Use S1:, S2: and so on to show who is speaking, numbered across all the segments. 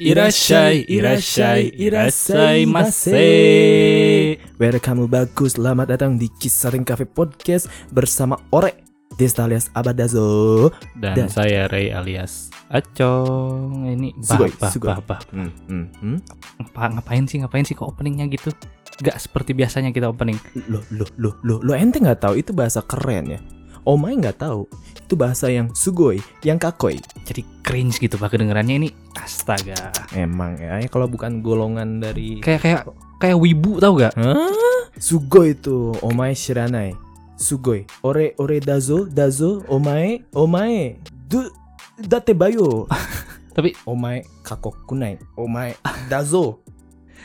S1: Irashai, irashai, irasai mase.
S2: Welcome bagus, selamat datang di Kisaring Cafe Podcast bersama Ore Destalias Abadazo.
S1: Dan,
S2: Dan-
S1: saya Ray alias Acong. Ini bah,
S2: Sugoi,
S1: bah,
S2: sugoi.
S1: bah, bah.
S2: Hmm, hmm, hmm.
S1: Ngapa- ngapain sih ngapain sih kok openingnya gitu? Gak seperti biasanya kita opening.
S2: Lo, lo, lo, lo, lo ente nggak tahu itu bahasa keren ya? Omai nggak tahu itu bahasa yang sugoi, yang kakoi.
S1: Jadi cringe gitu pak kedengerannya ini. Astaga.
S2: Emang ya, ya kalau bukan golongan dari
S1: Kayak kayak kayak wibu tau gak?
S2: Hah? Sugoi itu Omae shiranai. Sugoi. Ore ore dazo dazo omae omae. Du date bayo.
S1: Tapi-
S2: omae kakokunai. Omae dazo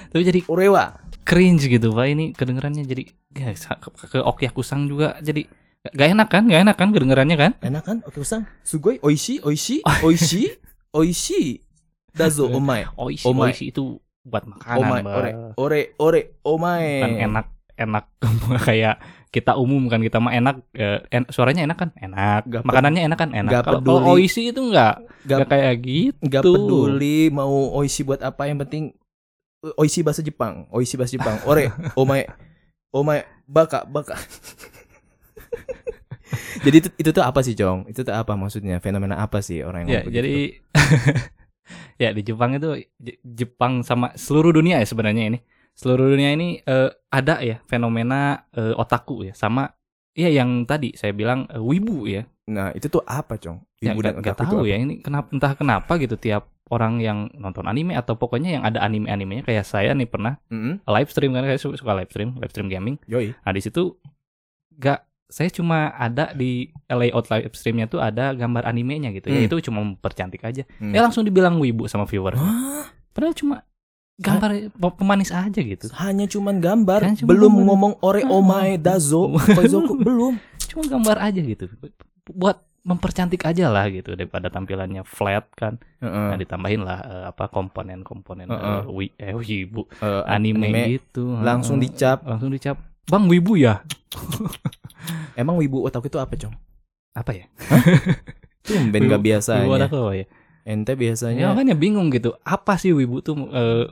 S1: Tapi jadi
S2: ore wa.
S1: cringe gitu pak ini kedengerannya jadi ya, sa- ke, ke Okyakusang juga jadi gak enak kan? Gak enak kan kedengerannya kan?
S2: Enak kan? Oke, Usang. Sugoi oishi oishi oishi oishi. Dazo omae.
S1: Oishi,
S2: Omai.
S1: oishi itu buat makanan.
S2: Omae
S1: Pak.
S2: Oh ore ore ore omae.
S1: kan enak enak kayak kita umum kan kita mah enak eh, en- suaranya enak kan enak
S2: Nggak ped-
S1: makanannya enak kan enak
S2: nggak
S1: kalau
S2: peduli.
S1: kalau oishi itu enggak
S2: Nggak-
S1: enggak kayak gitu
S2: Gak
S1: Tuh.
S2: peduli mau oishi buat apa yang penting eh, oishi bahasa Jepang, oishi bahasa Jepang. Ore, omae, omae, baka, baka. jadi itu, itu tuh apa sih, Jong? Itu tuh apa maksudnya? Fenomena apa sih orang yang
S1: ya
S2: ngomong gitu? begitu?
S1: jadi ya di Jepang itu Je- Jepang sama seluruh dunia ya sebenarnya ini seluruh dunia ini eh, ada ya fenomena eh, otaku ya sama ya yang tadi saya bilang eh, wibu ya
S2: Nah, itu tuh apa, Jong?
S1: Ya,
S2: Ibu
S1: nggak
S2: dan
S1: nggak
S2: otaku
S1: tahu
S2: itu
S1: ya ini kenapa entah kenapa gitu tiap orang yang nonton anime atau pokoknya yang ada anime animenya kayak saya nih pernah
S2: apa? Mm-mm.
S1: live stream kan saya su- suka live stream live stream gaming
S2: Yoi.
S1: nah di situ gak saya cuma ada di layout live streamnya tuh ada gambar animenya gitu ya
S2: Hmm.
S1: itu cuma mempercantik aja
S2: Hmm.
S1: ya langsung dibilang wibu sama viewer
S2: Hah?
S1: padahal cuma gambar pe- pemanis aja gitu
S2: Hanya cuman gambar,
S1: Hanya cuman
S2: belum
S1: gambar. Ah.
S2: ngomong ore, omae, dazo, koizoku, belum.
S1: cuma gambar aja gitu buat mempercantik aja lah gitu daripada tampilannya flat kan
S2: Heeh.
S1: nah ditambahin lah eh, apa komponen-komponen eh,
S2: Hmm. Heeh.
S1: wi- eh, wibu
S2: Eh,
S1: anime, gitu
S2: langsung
S1: Heeh.
S2: dicap.
S1: langsung dicap bang wibu ya
S2: Emang wibu otaku itu apa, Jong?
S1: apa ya
S2: Tumben gak biasanya.
S1: wibu otaku apa ya
S2: Ente
S1: Ya
S2: biasanya
S1: makanya bingung gitu. Apa sih wibu tuh eh,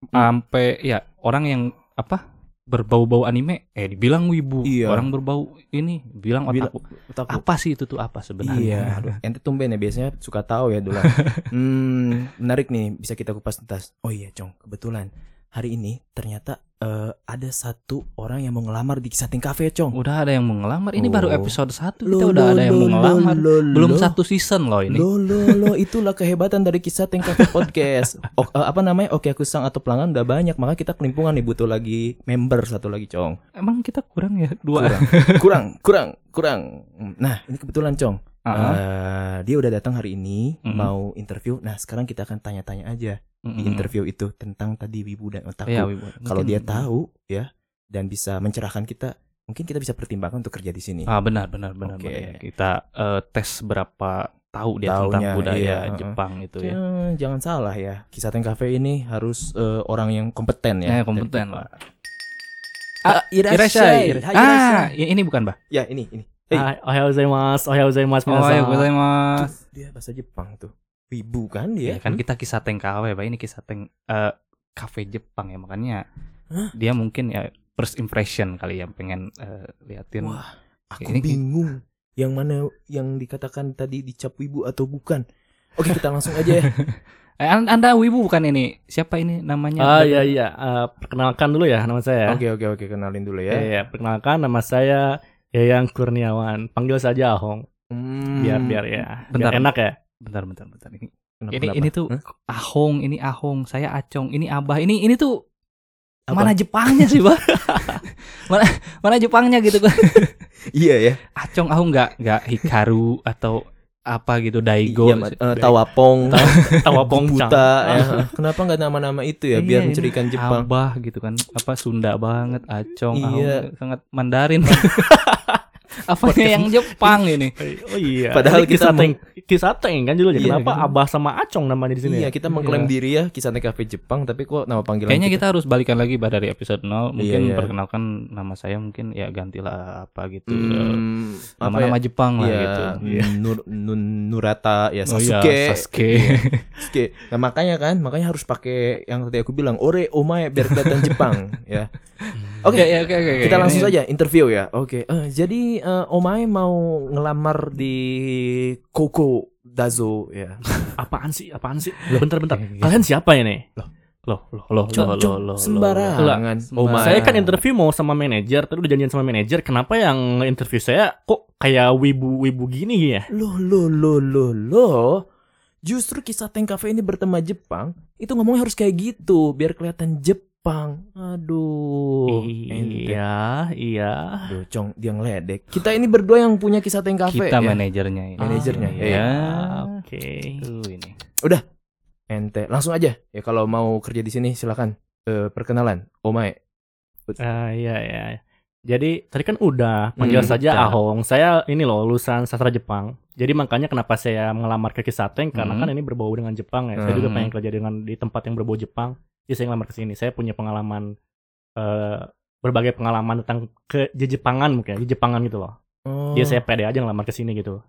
S2: Hmm.
S1: sampai ya orang yang apa berbau-bau anime eh dibilang wibu,
S2: Iya.
S1: orang berbau ini bilang
S2: Bila-
S1: otaku.
S2: otaku.
S1: Apa sih itu tuh apa sebenarnya?
S2: Iya, aduh. ente tumben ya biasanya suka tahu ya dulu. hmm, menarik nih, bisa kita kupas tuntas. Oh iya, Cong, kebetulan hari ini ternyata eh, ada satu orang yang mau ngelamar di Kisating Cafe, Cong.
S1: Udah ada yang mau ngelamar. Ini baru
S2: Oh.
S1: episode 1
S2: Lo,
S1: kita udah
S2: lo,
S1: ada yang
S2: lo, lo,
S1: mau ngelamar.
S2: lo,
S1: Belum
S2: lo.
S1: satu season loh ini.
S2: Lo lo lo itulah kehebatan dari Kisating Cafe podcast. Ok- eh, apa namanya? Oke, aku sang atau pelanggan udah banyak, maka kita kelimpungan nih butuh lagi member satu lagi, Cong.
S1: Emang kita kurang ya dua.
S2: Kurang, kurang, kurang, kurang. Nah, ini kebetulan, Cong.
S1: Ah,
S2: Eh, dia udah datang hari ini
S1: Mhm.
S2: mau interview. Nah, sekarang kita akan tanya-tanya aja di
S1: mm-mm.
S2: Ah, interview itu tentang tadi wibu dan otaku.
S1: Iya, wibu.
S2: Kalau
S1: Mungkin-
S2: dia tahu ya dan bisa mencerahkan kita, mungkin kita bisa pertimbangkan untuk kerja di sini.
S1: Ah benar benar benar.
S2: Oke.
S1: benar. Kita eh, tes berapa tahu dia tentang
S2: Taunya,
S1: budaya
S2: iya, heeh.
S1: Jepang itu ya.
S2: Eh, jangan salah ya, kisah Teng Cafe ini harus eh, orang yang kompeten ya.
S1: Ya, kompeten lah.
S2: Ah, irashai. Hai, irashai.
S1: Ah, i- ini bukan, Bah.
S2: Ya ini ini. Hey.
S3: Hai, ohayou gozaimasu, ohayou gozaimasu
S1: Oh,
S3: minasan.
S1: ya, gozaimasu.
S2: Dia bahasa Jepang tuh. Wibu kan dia?
S1: Ya, kan kita kisah teng kawe, Bah. Ini kisah teng eh, kafe Jepang ya, makanya
S2: Hah?
S1: dia mungkin ya first impression kali ya pengen eh, liatin.
S2: Wah, aku
S1: Ini-
S2: bingung yang mana yang dikatakan tadi dicap wibu atau bukan. Oke, kita langsung aja ya.
S1: Eh, an- anda wibu bukan ini? Siapa ini namanya?
S3: Ah
S1: Ada-
S3: iya iya, Eh, perkenalkan dulu ya nama saya.
S2: Oke oke oke kenalin dulu
S3: Iya,
S2: ya.
S3: iya, perkenalkan nama saya Yayang Kurniawan. Panggil saja Ahong,
S2: Hmm.
S3: biar biar ya.
S1: Bentar.
S3: Biar enak ya.
S1: Bentar, bentar, bentar. Ini
S2: Kenapa,
S1: ini,
S2: kenapa?
S1: ini tuh
S2: Hah?
S1: Ahong, ini Ahong, saya Acong, ini Abah. Ini ini tuh
S2: Apa?
S1: mana Jepangnya sih, Bah? mana mana Jepangnya gitu kan.
S2: Iya ya.
S1: Acong aku nggak nggak Hikaru atau apa gitu Daigo
S2: Iya, Mat. Eh, tawapong,
S3: Tawa pongcang.
S2: buta. ya. Kenapa nggak nama-nama itu ya?
S1: Iya,
S2: Biar
S1: ini
S2: mencirikan Jepang.
S1: Abah gitu kan apa Sunda banget Acong
S2: Iya.
S1: Ahong sangat Mandarin apanya ya yang Jepang ini?
S3: Oh iya.
S2: Padahal
S3: Jadi
S2: kita
S3: kisateng, kisateng kan judulnya.
S2: Iya,
S3: Kenapa
S1: kan?
S3: Abah sama Acong namanya di sini? ya?
S2: Iya, kita mengklaim diri ya kisah TKP Jepang, tapi kok nama panggilan
S1: Kayaknya gitu. kita harus balikan lagi bah dari episode 0 Mungkin
S2: gitu. iya.
S1: perkenalkan nama saya mungkin ya gantilah apa gitu
S2: Hmm, apa ya?
S1: Nama-nama Jepang lah
S2: Iya,
S1: gitu
S2: Iya. Nur, Nun- Nurata ya
S1: Oh iya,
S2: Sasuke.
S1: Sasuke.
S2: Sasuke. Nah, makanya kan, makanya harus pakai yang tadi aku bilang ore omae biar kelihatan Jepang ya. Oke,
S1: Ya, ya, oke, oke, oke.
S2: kita langsung
S1: Ini-
S2: saja interview ya. Oke. Eh, jadi eh, omae mau ngelamar di Koko Dazo ya.
S3: Apaan sih? Apaan sih? Bentar-bentar.
S1: Iya, iya.
S3: Kalian siapa ya nih?
S1: Loh, loh, loh,
S2: Cok,
S1: loh,
S2: cok,
S1: loh, loh,
S3: Lah,
S2: sembarangan. Omae.
S3: Saya kan interview mau sama manajer, tadi udah janjian sama manajer. Kenapa yang interview saya kok kayak wibu-wibu gini ya?
S2: Loh, loh, loh, loh, loh. Justru kisah Tank Cafe ini bertema Jepang, itu ngomongnya harus kayak gitu, biar kelihatan Jepang. Aduh. ente.
S3: iya, iya.
S2: Aduh, Cong, dia ngeledek. Kita ini berdua yang punya kisah Tank Cafe.
S1: Kita
S2: ya.
S1: manajernya ini.
S2: Manajernya,
S1: ya.
S2: iya.
S3: Ah, Oke.
S1: Tuh ini.
S2: Ente, langsung aja. Ya kalau mau kerja di sini silakan. Eh, perkenalan, Omae.
S3: Ah, iya, iya. Jadi tadi kan udah panggil
S2: Hmm,
S3: saja
S2: udah.
S3: Ahong. Saya ini loh lulusan sastra Jepang. Jadi makanya kenapa saya melamar ke Kisateng karena
S1: Hmm.
S3: kan ini berbau dengan Jepang ya. Saya juga
S1: Hmm.
S3: pengen kerja dengan di tempat yang berbau Jepang. Jadi saya ngelamar ke sini. Saya punya pengalaman eh, berbagai pengalaman tentang ke Jejepangan mungkin, ya, Jejepangan gitu loh.
S2: Oh,
S3: Jadi saya pede aja ngelamar ke sini gitu.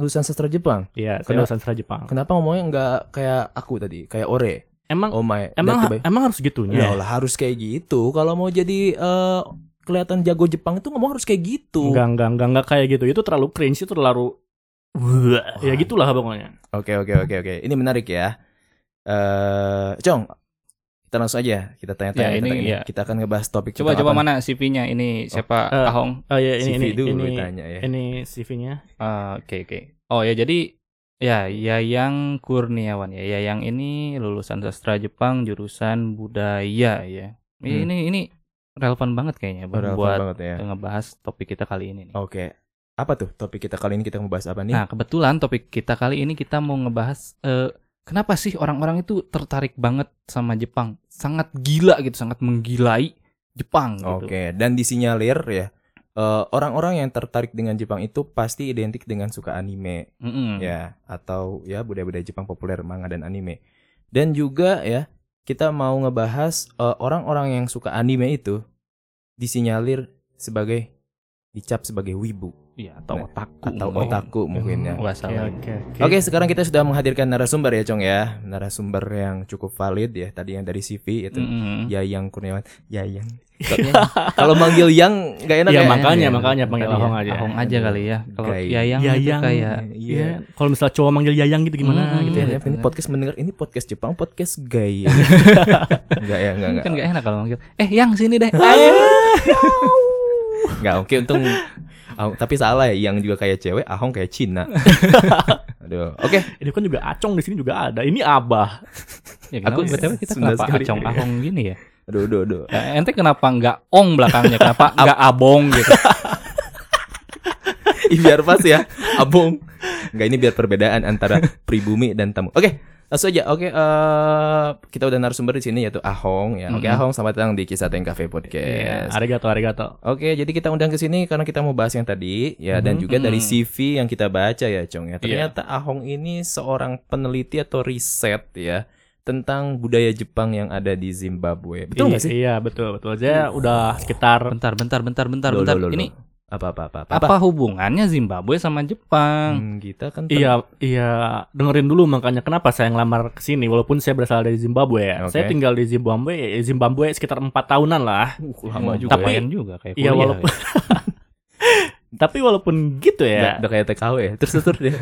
S2: lulusan sastra Jepang.
S3: Iya, saya
S2: Kenapa-
S3: lulusan sastra Jepang.
S2: Kenapa ngomongnya nggak kayak aku tadi, kayak ore?
S3: Emang
S2: Omae.
S3: emang Iya.
S2: Datu bay-
S3: emang harus
S2: Ya
S3: gitunya.
S2: lah harus kayak gitu. Kalau mau jadi eh, kelihatan jago Jepang itu ngomong harus kayak gitu.
S3: Enggak, enggak, enggak, enggak kayak gitu. Itu terlalu cringe, itu terlalu Wah, ya gitulah pokoknya.
S2: Oke oke oke oke. Ini menarik ya. Eh, Cong, kita langsung aja kita tanya-tanya.
S1: Ya,
S2: kita
S1: ini,
S2: tanya.
S1: ya.
S2: Kita akan ngebahas topik.
S1: Coba
S2: tentang
S1: coba
S2: apa?
S1: mana CV-nya ini siapa
S3: Oh, eh,
S1: Ahong?
S3: Oh iya ini
S2: CV
S3: ini ini
S2: dulu ditanya ya.
S3: ini CV-nya.
S1: Ah, Oke oke. Oh ya jadi ya Yayang Kurniawan ya. Yayang ini lulusan sastra Jepang jurusan budaya ya.
S2: Hmm.
S1: Ini ini, ini relevan banget kayaknya buat
S2: Relevan banget ya.
S1: ngebahas topik kita kali ini nih.
S2: Oke. Apa tuh topik kita kali ini kita mau bahas apa nih?
S1: Nah, kebetulan topik kita kali ini kita mau ngebahas eh, kenapa sih orang-orang itu tertarik banget sama Jepang? Sangat gila gitu, sangat menggilai Jepang gitu.
S2: Oke, dan disinyalir ya. eh, orang-orang yang tertarik dengan Jepang itu pasti identik dengan suka anime
S1: Mm-mm.
S2: ya atau ya budaya-budaya Jepang populer manga dan anime. Dan juga ya kita mau ngebahas eh, orang-orang yang suka anime itu disinyalir sebagai dicap sebagai wibu
S1: Iya, atau
S2: Nah,
S1: otaku.
S2: atau
S1: mungkin.
S2: otaku mungkin ya.
S1: Nggak salah.
S3: Oke oke.
S2: Oke, sekarang kita sudah menghadirkan narasumber ya, Cong ya. Narasumber yang cukup valid ya. Tadi yang dari CV itu
S1: Mm-mm.
S2: Yayang Kurniawan. Yayang. Kalau manggil yang nggak enak
S3: Ya
S2: ya.
S3: makanya
S2: Iya.
S3: makanya panggil
S2: Tadi ya,
S3: Ahong aja.
S1: Ahong aja kali ya. Kalau
S2: Gay.
S1: Yayang, itu
S3: Yayang.
S1: kayak
S2: Iya.
S3: Iya. Kalau misalnya cowok manggil Yayang gitu gimana
S1: Hmm,
S3: gitu
S2: Iya,
S3: ya.
S2: ya, ini podcast mendengar ini podcast Jepang, podcast gay. Enggak ya, enggak enggak.
S1: kan nggak enak kalau manggil. Eh, Yang sini deh. Ayo.
S2: Enggak, oke untung Ahong- tapi salah ya, yang juga kayak cewek, Ahong kayak Cina. Aduh. Oke,
S3: Ini kan juga Acong di sini juga ada. Ini Abah.
S1: ya,
S2: Aku
S1: kenapa btw kita
S2: senang
S1: kenapa
S2: sekali.
S1: acong ahong gini ya?
S2: aduh aduh aduh.
S1: Ya, ente kenapa nggak ong belakangnya? Kenapa nggak abong gitu?
S2: Ih, biar pas ya, Abong. Enggak ini biar perbedaan antara pribumi dan tamu. Oke, langsung aja. Oke, eh, kita udah narasumber di sini yaitu Ahong ya. Oke,
S1: Mhm.
S2: Ahong selamat datang di Kisah Teng Cafe Podcast.
S3: Arigato arigato.
S2: Oke, jadi kita undang ke sini karena kita mau bahas yang tadi ya dan
S3: Mhm.
S2: juga dari
S1: Mhm.
S2: CV yang kita baca ya, Cong ya. Ternyata Ahong ini seorang peneliti atau riset ya tentang budaya Jepang yang ada di Zimbabwe. Betul nggak
S3: Iya,
S2: sih?
S3: Iya, betul betul. Saya udah sekitar
S1: Bentar, bentar, bentar, bentar,
S2: Loh,
S1: bentar.
S2: loh, loh,
S1: Ini
S2: loh. apa apa apa apa?
S1: apa hubungannya Zimbabwe sama Jepang?
S2: Hmm, kita kan ter-
S3: Iya, iya, dengerin dulu makanya kenapa saya ngelamar ke sini walaupun saya berasal dari Zimbabwe ya.
S2: Oke.
S3: Saya tinggal di Zimbabwe, eh, Zimbabwe sekitar empat tahunan lah.
S2: Uh, lama
S1: Hmm,
S2: juga.
S1: tapi
S2: ya.
S1: lumayan juga kayak
S3: Iya,
S1: kuliah
S3: walaupun-
S1: ya.
S3: Tapi walaupun gitu ya,
S2: Udah, udah kayak TKW ya. Terus terus deh.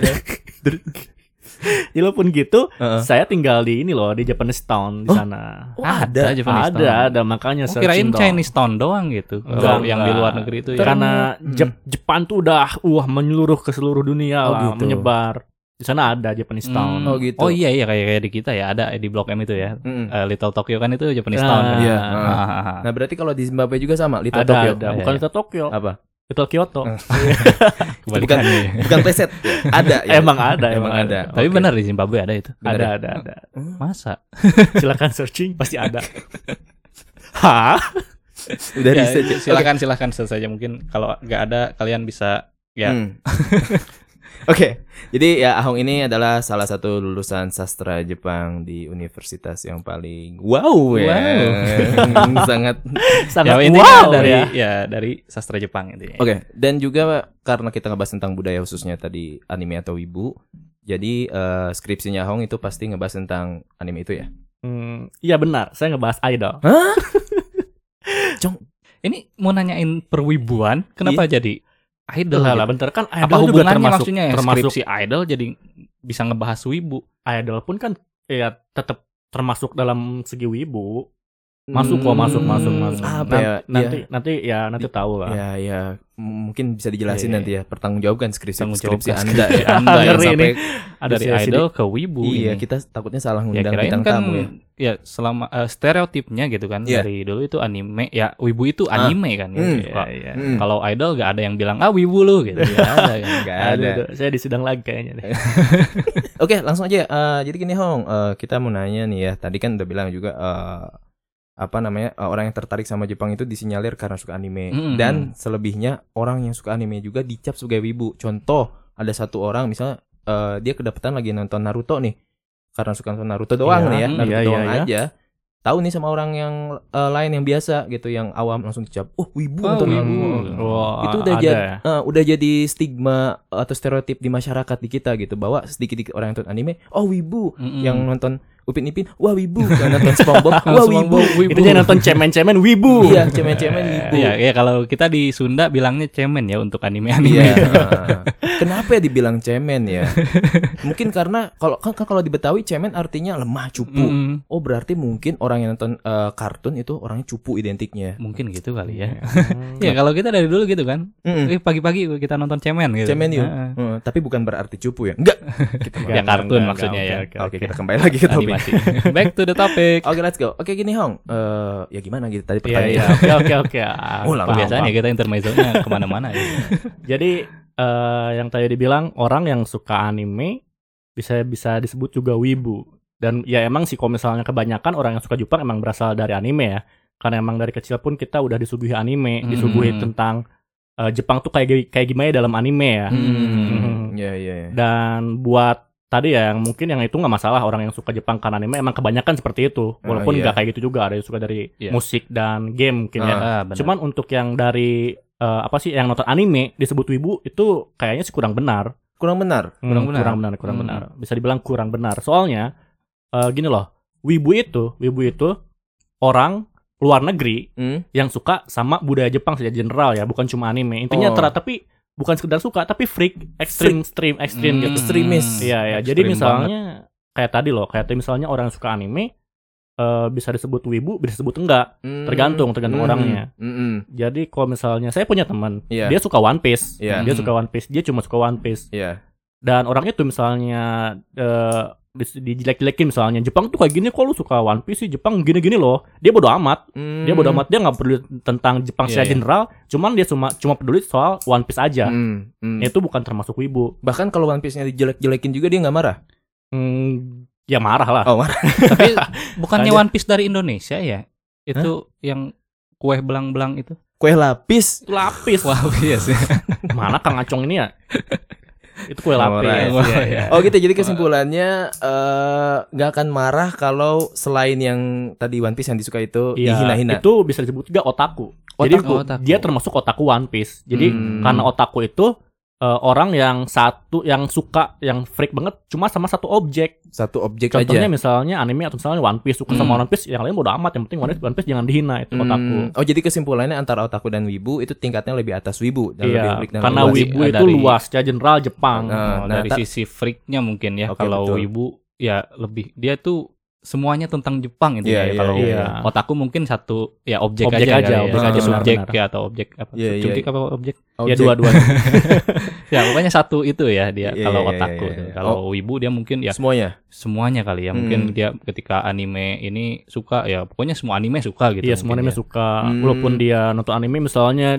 S3: walaupun gitu,
S2: Heeh.
S3: saya tinggal di ini loh, di Japanese Town di
S2: Oh,
S3: sana.
S2: Oh,
S1: ada
S2: ada.
S1: Japanese
S3: ada,
S1: Town.
S3: ada makanya
S1: Oh,
S3: searching
S1: kirain
S3: dong.
S1: Chinese Town doang gitu.
S3: Enggak,
S1: Kalau yang di
S3: enggak.
S1: luar negeri itu ya.
S3: Karena
S2: Hmm.
S3: Jep- Jepang tuh udah wah menyeluruh ke seluruh dunia
S2: Oh,
S3: lah,
S2: gitu.
S3: menyebar. Di sana ada Japanese Town.
S1: Hmm.
S2: Oh, gitu.
S1: Oh iya iya kayak kayak di kita ya ada di Blok M itu ya.
S2: Mm-mm.
S1: Eh, Little Tokyo kan itu Japanese Town kan.
S3: Nah,
S2: Iya.
S1: Ah, ah, ah.
S2: Hmm. Nah, berarti kalau Oh, di Zimbabwe juga sama, Little
S3: ada,
S2: Tokyo.
S3: ada.
S1: Iya,
S3: Bukan
S1: iya.
S3: itu Tokyo,
S2: Apa?
S3: itu Kyoto.
S2: bukan-
S1: Kebalikan ya.
S2: Bukan preset. ya? ada. ya?
S3: Emang ada,
S2: Emang
S3: emang
S2: ada.
S3: ada.
S1: Tapi
S2: Oke.
S1: benar di Zimbabwe ada itu.
S2: Benar
S3: Ada,
S2: ya?
S3: ada, ada.
S1: Masa?
S3: Silakan searching, pasti ada. Hah?
S2: Udah
S1: Ya,
S2: riset. ya?
S1: silakan silakan selesai aja mungkin kalau nggak ada kalian bisa ya.
S2: Hmm. Oke, jadi ya Ahong ini adalah salah satu lulusan sastra Jepang di universitas yang paling wow ya, sangat.
S3: Sangat
S1: ya, intinya
S3: wow
S1: dari
S3: ya.
S1: dari sastra Jepang intinya.
S2: Oke, dan juga karena kita ngebahas tentang budaya khususnya tadi anime atau wibu, jadi eh, skripsinya Ahong itu pasti ngebahas tentang anime itu ya.
S3: Hmm, Iya benar, saya ngebahas idol.
S1: Ini mau nanyain perwibuan, kenapa
S2: Iya.
S1: jadi idol?
S3: Lah
S1: gitu?
S3: lah bentar kan idol
S1: Apa
S3: juga
S1: hubungannya
S3: termasuk
S1: maksudnya ya?
S3: termasuk
S1: skripsi idol jadi bisa ngebahas wibu.
S3: idol pun kan ya tetap termasuk dalam segi wibu. Masuk kok, masuk, masuk, masuk.
S2: Hmm, Apa
S3: Nan-
S2: ya?
S3: Nanti
S2: Ya.
S3: nanti ya nanti tahu lah.
S2: Ya, ya, M- mungkin bisa dijelasin
S1: Iya,
S2: nanti ya. Pertanggungjawabkan skripsi skripsi Anda
S1: Tanggungjawabkan skripsi
S2: ya.
S1: Anda ya,
S3: Ngeri
S1: sampai
S3: Ada
S1: dari
S3: sisi-
S1: idol ke wibu.
S2: Iya,
S1: ini.
S2: kita takutnya salah
S1: ya
S2: ngundang
S1: kirain
S2: bintang
S1: kan
S2: tamu
S1: ya.
S2: ya.
S1: selama eh, stereotipnya gitu kan
S2: Iya.
S1: dari dulu itu anime ya wibu itu
S2: Ah.
S1: anime kan ya,
S2: Hmm.
S1: suka.
S3: Iya, iya.
S2: Hmm.
S1: Kalau idol gak ada yang bilang ah wibu lu gitu. Gak ada kan.
S2: Nggak
S3: Aduh,
S2: Iya, ada.
S3: aduh, saya disidang lagi kayaknya deh.
S2: Oke, langsung aja. Eh, jadi gini Hong, Eh, kita mau nanya nih ya. Tadi kan udah bilang juga eh, apa namanya eh, orang yang tertarik sama Jepang itu disinyalir karena suka anime
S1: Mm-mm.
S2: dan selebihnya orang yang suka anime juga dicap sebagai wibu. Contoh ada satu orang misalnya eh, dia kedapetan lagi nonton Naruto nih karena suka nonton Naruto
S3: Iya,
S2: doang nih ya,
S1: mm,
S2: Naruto
S3: iya, iya,
S2: doang
S3: iya.
S2: aja. Tahu nih sama orang yang eh, lain yang biasa gitu, yang awam langsung dicap, oh wibu
S1: Oh,
S2: nonton
S1: wibu.
S2: anime."
S3: Wah,
S2: Itu udah
S3: ada
S2: jadi-
S3: ya.
S2: Eh, udah jadi stigma atau stereotip di masyarakat di kita gitu bahwa sedikit-sedikit orang yang nonton anime oh wibu
S1: Mm-mm.
S2: yang nonton Upin Ipin wah wibu yang nonton SpongeBob wah
S1: Langsung
S2: wibu
S1: ngomong, wibu.
S3: Itu jangan nonton cemen-cemen wibu.
S2: iya cemen-cemen wibu
S1: Ya, ya kalau kita di Sunda bilangnya cemen ya untuk anime-anime.
S2: Iya. Kenapa ya dibilang cemen ya? Mungkin karena kalau kan kan kalau di Betawi cemen artinya lemah, cupu.
S1: Mm-mm.
S2: Oh, berarti mungkin orang yang nonton eh, kartun itu orangnya cupu identiknya.
S1: Mungkin gitu kali ya.
S3: Hmm.
S1: Ya kalau kita dari dulu gitu kan.
S2: Mm-mm.
S1: Eh pagi-pagi kita nonton cemen gitu.
S2: Cemen yuk.
S1: Heeh.
S2: Heeh, tapi bukan berarti cupu ya. Enggak.
S3: gitu kan.
S1: Ya kartun maksudnya ya.
S3: Oke,
S2: Oke,
S3: oke.
S2: kita kembali lagi ke topik. Oh,
S1: Animasi. Back to the topic.
S2: Oke, let's go. Oke, gini Hong. Eh, ya gimana gitu tadi
S3: Iya,
S2: pertanyaannya?
S3: iya. Oke, oke, oke. Ah,
S2: Oh, lama
S3: paham,
S1: Biasanya
S3: paham.
S1: kita intermezzonya kemana-mana. ya.
S3: Jadi eh, yang tadi dibilang orang yang suka anime bisa bisa disebut juga wibu. Dan ya emang sih kalau misalnya kebanyakan orang yang suka Jepang emang berasal dari anime ya. Karena emang dari kecil pun kita udah disuguhi anime,
S1: Hmm.
S3: disuguhi tentang eh, Jepang tuh kayak gi- kayak gimana ya dalam anime ya.
S2: Hmm, ya ya. ya.
S3: Dan buat tadi ya yang mungkin yang itu nggak masalah orang yang suka Jepang karena anime emang kebanyakan seperti itu. Walaupun
S2: iya.
S3: nggak kayak gitu juga ada yang suka dari
S1: Iya.
S3: musik dan game mungkin ya.
S2: Ah.
S1: Ah, benar.
S3: Cuman untuk yang dari eh, apa sih yang nonton anime disebut wibu itu kayaknya sih kurang benar.
S2: Kurang benar.
S3: Hmm,
S1: Kurang benar.
S3: kurang benar, kurang
S1: Hmm.
S3: benar. Bisa dibilang kurang benar. Soalnya eh, gini loh, wibu itu, wibu itu orang luar negeri
S2: Hmm?
S3: yang suka sama budaya Jepang secara general ya, bukan cuma anime. Intinya
S2: Oh.
S3: ter- tapi bukan sekedar suka, tapi freak, ekstrim, stream, ekstrim
S1: Hmm.
S3: gitu.
S2: Ekstremis.
S3: Iya, ya. Jadi
S1: Ekstrim
S3: misalnya kayak tadi loh, kayak tadi misalnya orang yang suka anime eh, bisa disebut wibu, bisa disebut enggak.
S2: Hmm.
S3: Tergantung, tergantung
S2: Hmm.
S3: orangnya.
S2: Hmm.
S3: Jadi kalau misalnya saya punya teman,
S2: Iya.
S3: dia suka One Piece.
S2: Iya.
S3: Dia suka One Piece, dia cuma suka One Piece.
S2: Iya.
S3: Dan orang itu misalnya eh dis- dijelek-jelekin misalnya Jepang tuh kayak gini kok lu suka One Piece sih Jepang gini-gini loh dia bodo amat
S2: Hmm.
S3: dia bodo amat dia nggak peduli tentang Jepang
S1: Iya,
S3: secara
S1: iya.
S3: general cuman dia cuma cuma peduli soal One Piece aja
S2: Hmm. Hmm.
S3: itu bukan termasuk wibu
S2: Bahkan kalau One Piece-nya dijelek-jelekin juga dia nggak marah.
S3: Hmm, ya marah lah.
S2: Oh, marah.
S1: Tapi bukannya
S3: Ada.
S1: One Piece dari Indonesia ya? Itu yang kue belang-belang itu.
S2: Kue lapis.
S3: Lapis.
S1: Wah, iya sih.
S3: Mana Kang Acong ini ya? Itu kue
S2: Marah,
S3: lapis.
S1: ya.
S3: Iya, iya.
S2: Oh gitu. Jadi kesimpulannya eh, nggak akan marah kalau selain yang tadi One Piece yang disuka itu
S3: Iya,
S2: dihina-hina. oh,
S3: Itu bisa disebut juga otaku. Jadi
S1: Otaku, otaku.
S3: dia termasuk otaku One Piece. Jadi
S2: Hmm.
S3: karena otaku itu eh, orang yang satu yang suka yang freak banget cuma sama satu objek.
S2: Satu objek
S3: Contohnya
S2: aja.
S3: misalnya anime atau misalnya One Piece suka sama One
S1: Hmm.
S3: Piece, yang lain bodo amat, yang penting One Piece, One Piece jangan dihina itu
S2: Hmm.
S3: otaku.
S2: Oh jadi kesimpulannya antara otaku dan wibu itu tingkatnya lebih atas wibu dan lebih
S3: Iya,
S2: freak dan
S3: karena
S2: lebih luas.
S3: wibu
S1: Ada
S3: itu
S1: di-
S3: luas, secara general Jepang.
S2: Nah,
S1: Oh,
S2: nah,
S1: dari
S2: ta-
S1: sisi freaknya mungkin ya
S2: Oke,
S1: kalau
S2: betul.
S1: wibu ya lebih dia tuh semuanya tentang Jepang itu
S2: Iya,
S1: ya
S2: iya,
S1: kalau
S3: iya.
S1: otakku mungkin satu ya objek,
S3: Objek
S1: aja,
S3: aja,
S1: kali ya.
S3: objek
S2: aja,
S1: subjek
S3: benar-benar.
S1: ya atau objek apa
S2: Iya, iya.
S1: subjek apa objek
S3: ya
S2: Objek.
S3: dua-duanya.
S1: ya pokoknya satu itu ya dia
S2: Iya,
S1: kalau
S2: iya, iya,
S1: otakku
S2: iya, iya.
S1: kalau wibu dia mungkin
S3: iya.
S1: ya
S2: Semuanya.
S1: semuanya kali ya mungkin
S2: Hmm.
S1: dia ketika anime ini suka ya pokoknya semua anime suka gitu
S3: Iya semua anime
S1: mungkin ya.
S3: suka
S2: Hmm.
S3: Walaupun dia nonton anime misalnya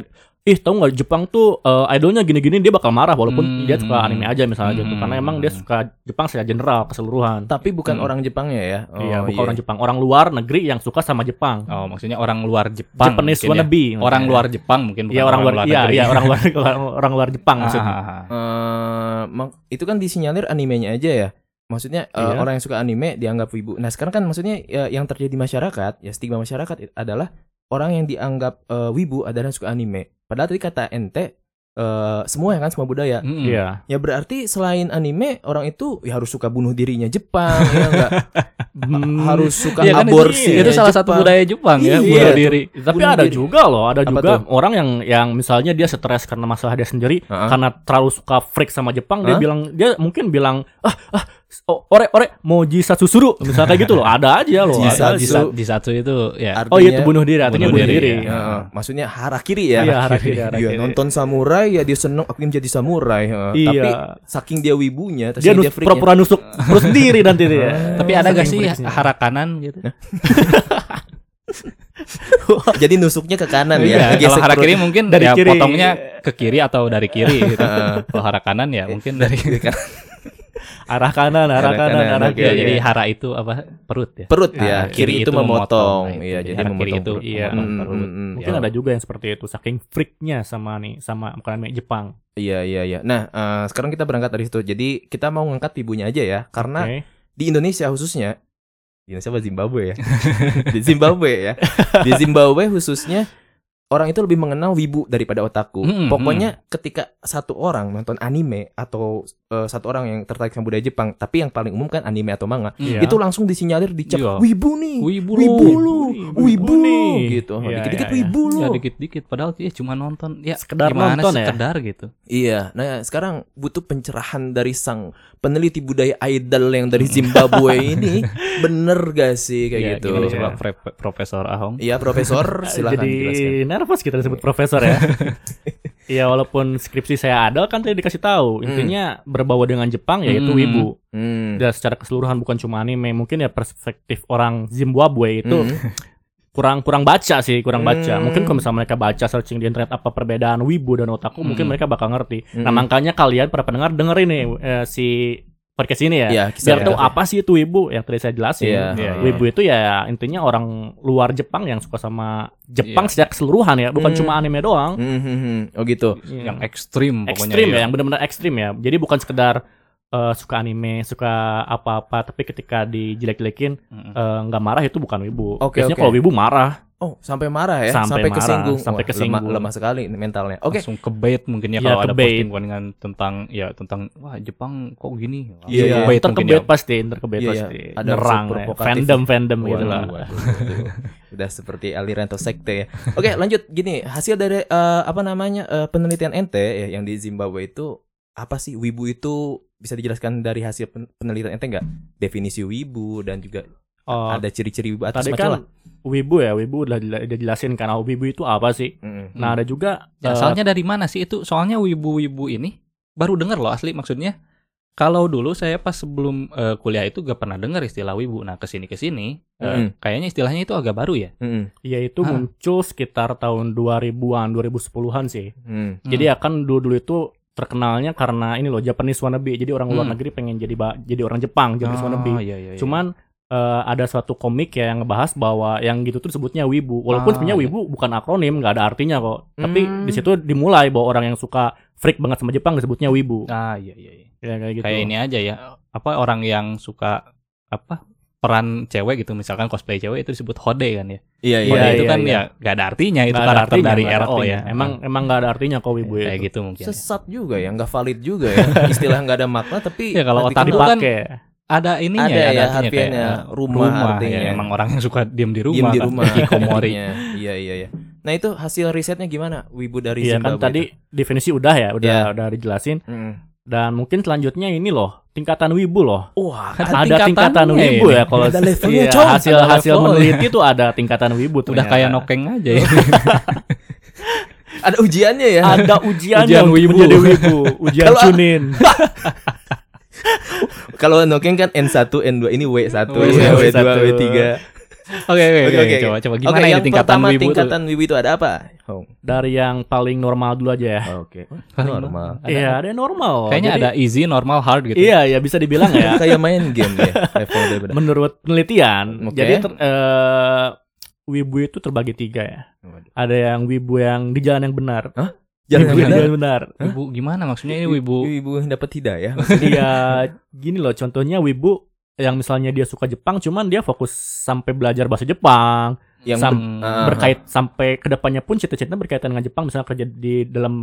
S3: ih tahu nggak Jepang tuh eh, idolnya gini-gini dia bakal marah walaupun
S1: Hmm.
S3: dia suka anime aja misalnya gitu
S1: Hmm.
S3: karena emang dia suka Jepang secara general keseluruhan.
S2: Tapi bukan
S1: Hmm.
S2: orang Jepangnya ya. Oh,
S3: iya, bukan orang Jepang, orang luar negeri yang suka sama Jepang.
S1: Oh, maksudnya orang luar Jepang.
S3: Japanese
S1: mungkin ya.
S3: wannabe.
S1: Orang luar Jepang mungkin bukan
S3: Iya, orang luar. Iya,
S1: negeri.
S3: iya, orang luar orang luar Jepang maksudnya.
S1: Ah, ah, ah.
S2: Eh, mak- itu kan disinyalir animenya aja ya. Maksudnya eh,
S3: Iya.
S2: orang yang suka anime dianggap wibu. Nah sekarang kan maksudnya ya, yang terjadi di masyarakat ya stigma masyarakat i- adalah orang yang dianggap eh, wibu adalah yang suka anime. Padahal tadi kata ente eh, semua ya kan semua budaya.
S1: Mm-mm.
S3: Iya.
S2: Ya berarti selain anime orang itu ya harus suka bunuh dirinya Jepang ya enggak?
S3: Hmm.
S2: harus suka
S1: Iya, kan itu-
S2: aborsi.
S1: itu,
S2: ya,
S1: salah satu
S2: Jepang.
S1: budaya Jepang
S2: Iya.
S1: ya, bunuh diri.
S3: Tapi
S2: Bunuh
S3: ada
S2: diri.
S3: juga loh, ada
S2: Apa
S3: juga
S2: tuh?
S3: orang yang yang misalnya dia stres karena masalah dia sendiri,
S2: Heeh.
S3: karena terlalu suka freak sama Jepang, dia
S2: Hah?
S3: bilang dia mungkin bilang ah ah o- ore ore moji susuru misalnya kayak gitu loh, ada aja loh.
S2: Jisa-
S3: ada aja.
S2: jisa-
S1: Di satu itu ya.
S2: Artinya- iya.
S3: Oh iya itu bunuh diri, artinya
S1: Bunuh
S3: bunuh,
S1: diri,
S3: diri.
S1: ya.
S2: Heeh. maksudnya harakiri ya.
S3: Iya, harakiri,
S2: Iya,
S3: harakiri.
S2: nonton samurai ya dia seneng aku ingin jadi samurai. heeh.
S3: Iya.
S2: Tapi saking dia wibunya, terus
S3: Dia, nus-
S2: freaknya. Ah,
S3: pura-pura nusuk terus sendiri nanti dia.
S1: Tapi ada gak sih
S3: freaknya.
S1: harakanan gitu?
S2: Jadi nusuknya ke kanan ya.
S1: Iya,
S2: Gesek
S1: kalau hara kiri
S2: perut.
S1: mungkin
S3: Dari
S1: ya
S3: kiri.
S1: potongnya ke kiri atau dari kiri gitu. kalau hara kanan ya mungkin dari
S2: Ke kanan.
S3: Arah kanan, arah
S2: Arah
S3: kanan,
S2: kanan,
S3: arah
S2: oke,
S1: ya,
S3: kiri.
S1: jadi hara itu apa perut ya.
S2: perut
S1: Nah,
S2: ya. Kiri, itu memotong.
S1: Nah,
S2: Iya,
S1: itu.
S2: jadi
S1: Hara kiri
S2: memotong
S1: itu
S2: perut.
S1: iya
S2: Mm,
S1: memotong perut.
S2: mm, mm.
S3: Mungkin ada juga yang seperti itu saking freaknya sama nih sama bukan anime Jepang.
S2: Iya, iya, iya. Nah, eh, sekarang kita berangkat dari situ. Jadi kita mau ngangkat ibunya aja ya, karena
S3: Oke.
S2: di Indonesia khususnya di Indonesia apa Zimbabwe ya di Zimbabwe ya di Zimbabwe khususnya orang itu lebih mengenal wibu daripada otaku
S1: Mm,
S2: pokoknya ketika satu orang nonton anime atau eh, satu orang yang tertarik sama budaya Jepang tapi yang paling umum kan anime atau manga
S3: Ya.
S1: Iya.
S2: itu langsung disinyalir dicap
S1: Iya.
S2: wibu nih
S1: Wibu
S2: wibu
S1: lu.
S2: lu
S3: Wibu
S2: wibu lu
S3: nih.
S2: gitu
S3: Iya,
S2: dikit-dikit
S3: iya, iya.
S2: wibu lu
S1: Ya dikit-dikit padahal ya cuma nonton ya
S3: Sekedar
S1: gimana
S3: nonton ya?
S1: sekedar gitu.
S2: Iya, nah sekarang butuh pencerahan dari sang peneliti budaya idol yang dari Zimbabwe ini, bener gak sih kayak
S1: Ya,
S2: gitu?
S1: gimana
S2: Iya,
S1: coba Pre- Profesor Ahong?
S2: Profesor, silahkan
S3: Jadi
S2: jelaskan.
S3: nervous kita disebut profesor ya. Iya walaupun skripsi saya ada kan tadi dikasih tahu intinya berbau dengan Jepang yaitu
S1: Hmm.
S3: wibu.
S2: Hmm.
S3: Dan secara keseluruhan bukan cuma anime mungkin ya perspektif orang Zimbabwe itu
S2: Hmm.
S3: kurang kurang baca sih kurang baca.
S2: Hmm.
S3: Mungkin kalau misalnya mereka baca searching di internet apa perbedaan wibu dan otaku mungkin
S1: Hmm.
S3: mereka bakal ngerti. Nah
S2: Hmm.
S3: makanya kalian para pendengar dengerin nih eh, si podcast ini ya.
S2: Iya, kisah
S3: Biar tahu
S2: nyata.
S3: apa sih itu wibu yang tadi saya jelasin.
S2: Iya.
S1: Iya, iya.
S3: Wibu itu ya intinya orang luar Jepang yang suka sama Jepang secara keseluruhan ya, bukan
S2: Hmm.
S3: cuma anime doang.
S2: Hmm, hmm, hmm. Oh gitu.
S1: Yang ekstrim pokoknya. iya.
S3: ekstrim ya, yang benar-benar ekstrim ya. Jadi bukan sekedar eh, suka anime, suka apa-apa, tapi ketika dijelek-jelekin
S1: Mm-mm.
S3: eh, nggak marah itu bukan wibu.
S2: Oke,
S3: Biasanya
S2: oke.
S3: kalau wibu marah,
S2: Oh, sampai marah ya?
S3: Sampai
S2: Sampai,
S3: marah,
S2: kesinggung.
S3: sampai
S2: Wah,
S3: kesinggung.
S2: Lemah, lemah sekali mentalnya. Oke.
S1: langsung ke bait mungkin
S3: Iya,
S1: ya kalau
S3: ke
S1: ada
S3: bait.
S1: posting postingan tentang ya tentang wah Jepang kok gini Langsung
S2: Iya,
S1: ke
S2: iya.
S1: bait mungkin ya.
S3: terkebet pasti, terkebet
S2: Iya, iya.
S3: pasti.
S2: Ada
S3: Nyerang,
S2: unsur
S3: ya.
S2: provokatif.
S3: fandom-fandom
S2: Waduh,
S3: gitu lah.
S2: waduh, waduh. Udah seperti aliran atau sekte ya. Oke, lanjut gini. Hasil dari eh, apa namanya eh, penelitian ente ya yang di Zimbabwe itu apa sih wibu itu bisa dijelaskan dari hasil pen- penelitian ente nggak? Definisi wibu dan juga
S3: Oh,
S2: ada ciri-ciri wibu atas
S3: tadi kan wibu ya, wibu udah udah jelasin karena wibu itu apa sih. Nah,
S1: Hmm.
S3: ada juga eh,
S1: Ya, asalnya dari mana sih itu? Soalnya wibu-wibu ini baru dengar loh asli maksudnya. Kalau dulu saya pas sebelum eh, kuliah itu gak pernah dengar istilah wibu. Nah, kesini kesini
S2: Hmm,
S3: Hmm.
S1: eh, kayaknya istilahnya itu agak baru ya.
S3: yaitu
S1: Hah?
S3: muncul sekitar tahun 2000-an, 2010-an sih. Jadi
S1: Hmm.
S3: ya kan dulu-dulu itu terkenalnya karena ini loh Japanese wannabe. Jadi orang luar
S1: Hmm.
S3: negeri pengen jadi ba- jadi orang Jepang, Japanese wannabe.
S1: iya, iya, iya.
S3: Cuman eh, ada suatu komik ya yang ngebahas bahwa yang gitu tuh disebutnya wibu. Walaupun
S1: Ah,
S3: sebenarnya
S1: iya.
S3: wibu bukan akronim, nggak ada artinya kok. Tapi
S2: Hmm.
S3: di situ dimulai bahwa orang yang suka freak banget sama Jepang disebutnya wibu.
S1: ah iya iya. iya.
S3: Ya kayak gitu.
S1: Kayak ini aja ya. Apa orang yang suka apa peran cewek gitu misalkan cosplay cewek itu disebut hode kan ya.
S2: Iya,
S1: Hode
S2: iya.
S1: itu
S3: iya,
S1: kan
S3: iya.
S1: ya gak ada artinya itu
S3: Nggak ada
S1: karakter
S3: artinya,
S1: dari
S3: nggak ada
S1: RO
S3: artinya.
S1: ya.
S3: Emang emang nggak ada artinya kok wibu
S1: kayak
S3: itu.
S1: gitu mungkin. ya.
S2: Sesat juga ya, nggak valid juga ya. Istilah nggak ada makna tapi
S1: Ya, kalau
S2: nanti
S1: otak
S2: kenal.
S1: kan
S3: Dipakai.
S1: Ada ininya
S2: ada ya
S1: artinya kayak,
S2: harfiahnya
S1: eh,
S2: rumah, artinya.
S1: ya. emang orang yang suka diem di
S2: Diem
S1: rumah
S2: di
S1: kan.
S2: rumah
S1: Hikikomori.
S2: artinya. Iya, iya, iya. Nah, itu hasil risetnya gimana? Wibu dari
S3: Iya kan
S2: Zimbabwe
S3: tadi
S2: itu.
S3: definisi udah ya, udah
S2: Iya.
S3: udah dijelasin.
S2: Mm.
S3: Dan mungkin selanjutnya ini loh, tingkatan wibu loh.
S2: Wah,
S1: Kan
S3: ada
S1: tingkatannya
S3: tingkatan wibu
S1: ini.
S3: ya kalau
S2: Ada levelnya,
S3: iya,
S2: Cong.
S3: hasil
S2: Ada
S3: hasil
S2: level.
S3: meneliti tuh ada tingkatan wibu
S1: Udah
S3: ternyata.
S1: kayak nokeng aja ya.
S2: ada ujiannya ya.
S3: ada ujiannya
S1: Ujian
S3: untuk
S1: wibu.
S3: menjadi wibu ujian
S2: Kalau-
S3: cunin
S1: Oh,
S2: Kalau Nokeng kan N1, N2, ini W1,
S1: W1,
S2: W2, W3.
S1: Oke iya, oke
S2: Oke,
S1: oke
S2: oke,
S1: coba coba
S2: Oke,
S1: gimana ini
S2: yang
S1: tingkatan
S2: pertama
S1: wibu tuh?
S2: tingkatan wibu itu ada apa? Oh,
S3: Dari yang paling normal dulu aja ya.
S2: Oke.
S1: Paling
S2: Normal.
S1: Ada-
S3: Iya, ada yang
S2: Oh,
S3: normal.
S1: Kayaknya
S3: Jadi-
S1: ada easy, normal, hard gitu.
S3: Iya, ya bisa dibilang ya.
S2: Kayak main game ya level daripada.
S3: Menurut penelitian,
S2: Oke.
S3: jadi ter- eh, wibu itu terbagi tiga ya. Ada yang wibu yang di jalan yang benar,
S2: Jangan
S3: wibu yang di
S2: benar.
S3: jalan benar.
S1: Wibu gimana maksudnya ini wibu?
S2: Wibu yang dapat hidayah.
S3: Dia Iya, gini loh, contohnya wibu yang misalnya dia suka Jepang, cuman dia fokus sampai belajar bahasa Jepang,
S2: Yang
S3: Sam-
S2: ber-
S1: Hmm,
S2: Aha.
S3: berkait sampai kedepannya pun cita-cita berkaitan dengan Jepang, misalnya kerja di dalam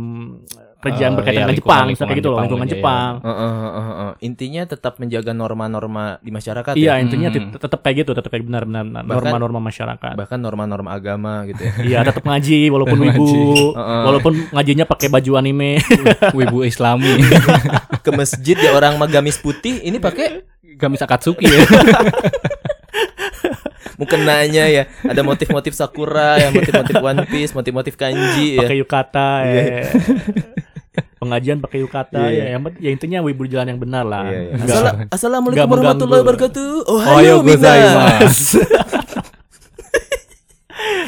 S3: kerjaan
S1: Eh,
S3: berkaitan
S1: iya,
S3: dengan
S1: lingkungan-
S3: Jepang, misalnya kayak gitu loh,
S1: lingkungan
S3: lingkungan Jepang.
S1: Jepang,
S2: Heeh, heeh, heeh, heeh. Intinya tetap menjaga norma-norma di masyarakat
S3: Iya,
S2: ya.
S3: intinya
S1: Hmm.
S3: tet- tetap kayak gitu, tetap kayak benar-benar
S2: Bahkan-
S3: norma-norma masyarakat.
S2: Bahkan norma-norma agama gitu ya.
S3: Iya, tetap ngaji walaupun
S1: Tetap
S3: wibu,
S2: Heeh.
S3: walaupun ngajinya pakai baju anime.
S1: wibu Islami.
S2: ke masjid ya orang magamis putih ini pakai
S1: Gamis Akatsuki ya.
S2: mukenanya ya. Ada motif-motif sakura, ya motif-motif One Piece, motif-motif kanji ya.
S3: pakai yukata
S2: Iya.
S3: ya. pengajian pakai yukata
S2: Iya.
S3: ya. Yang penting- ya intinya wibu di jalan yang benar lah
S2: Iya, iya.
S3: Enggak.
S2: Assala- Assalamualaikum
S3: Nggak mengganggu. Oh,
S2: warahmatullahi wabarakatuh. Oh,
S1: Ohayo
S2: Ohayo iya, gozaimasu.
S1: gozaimasu.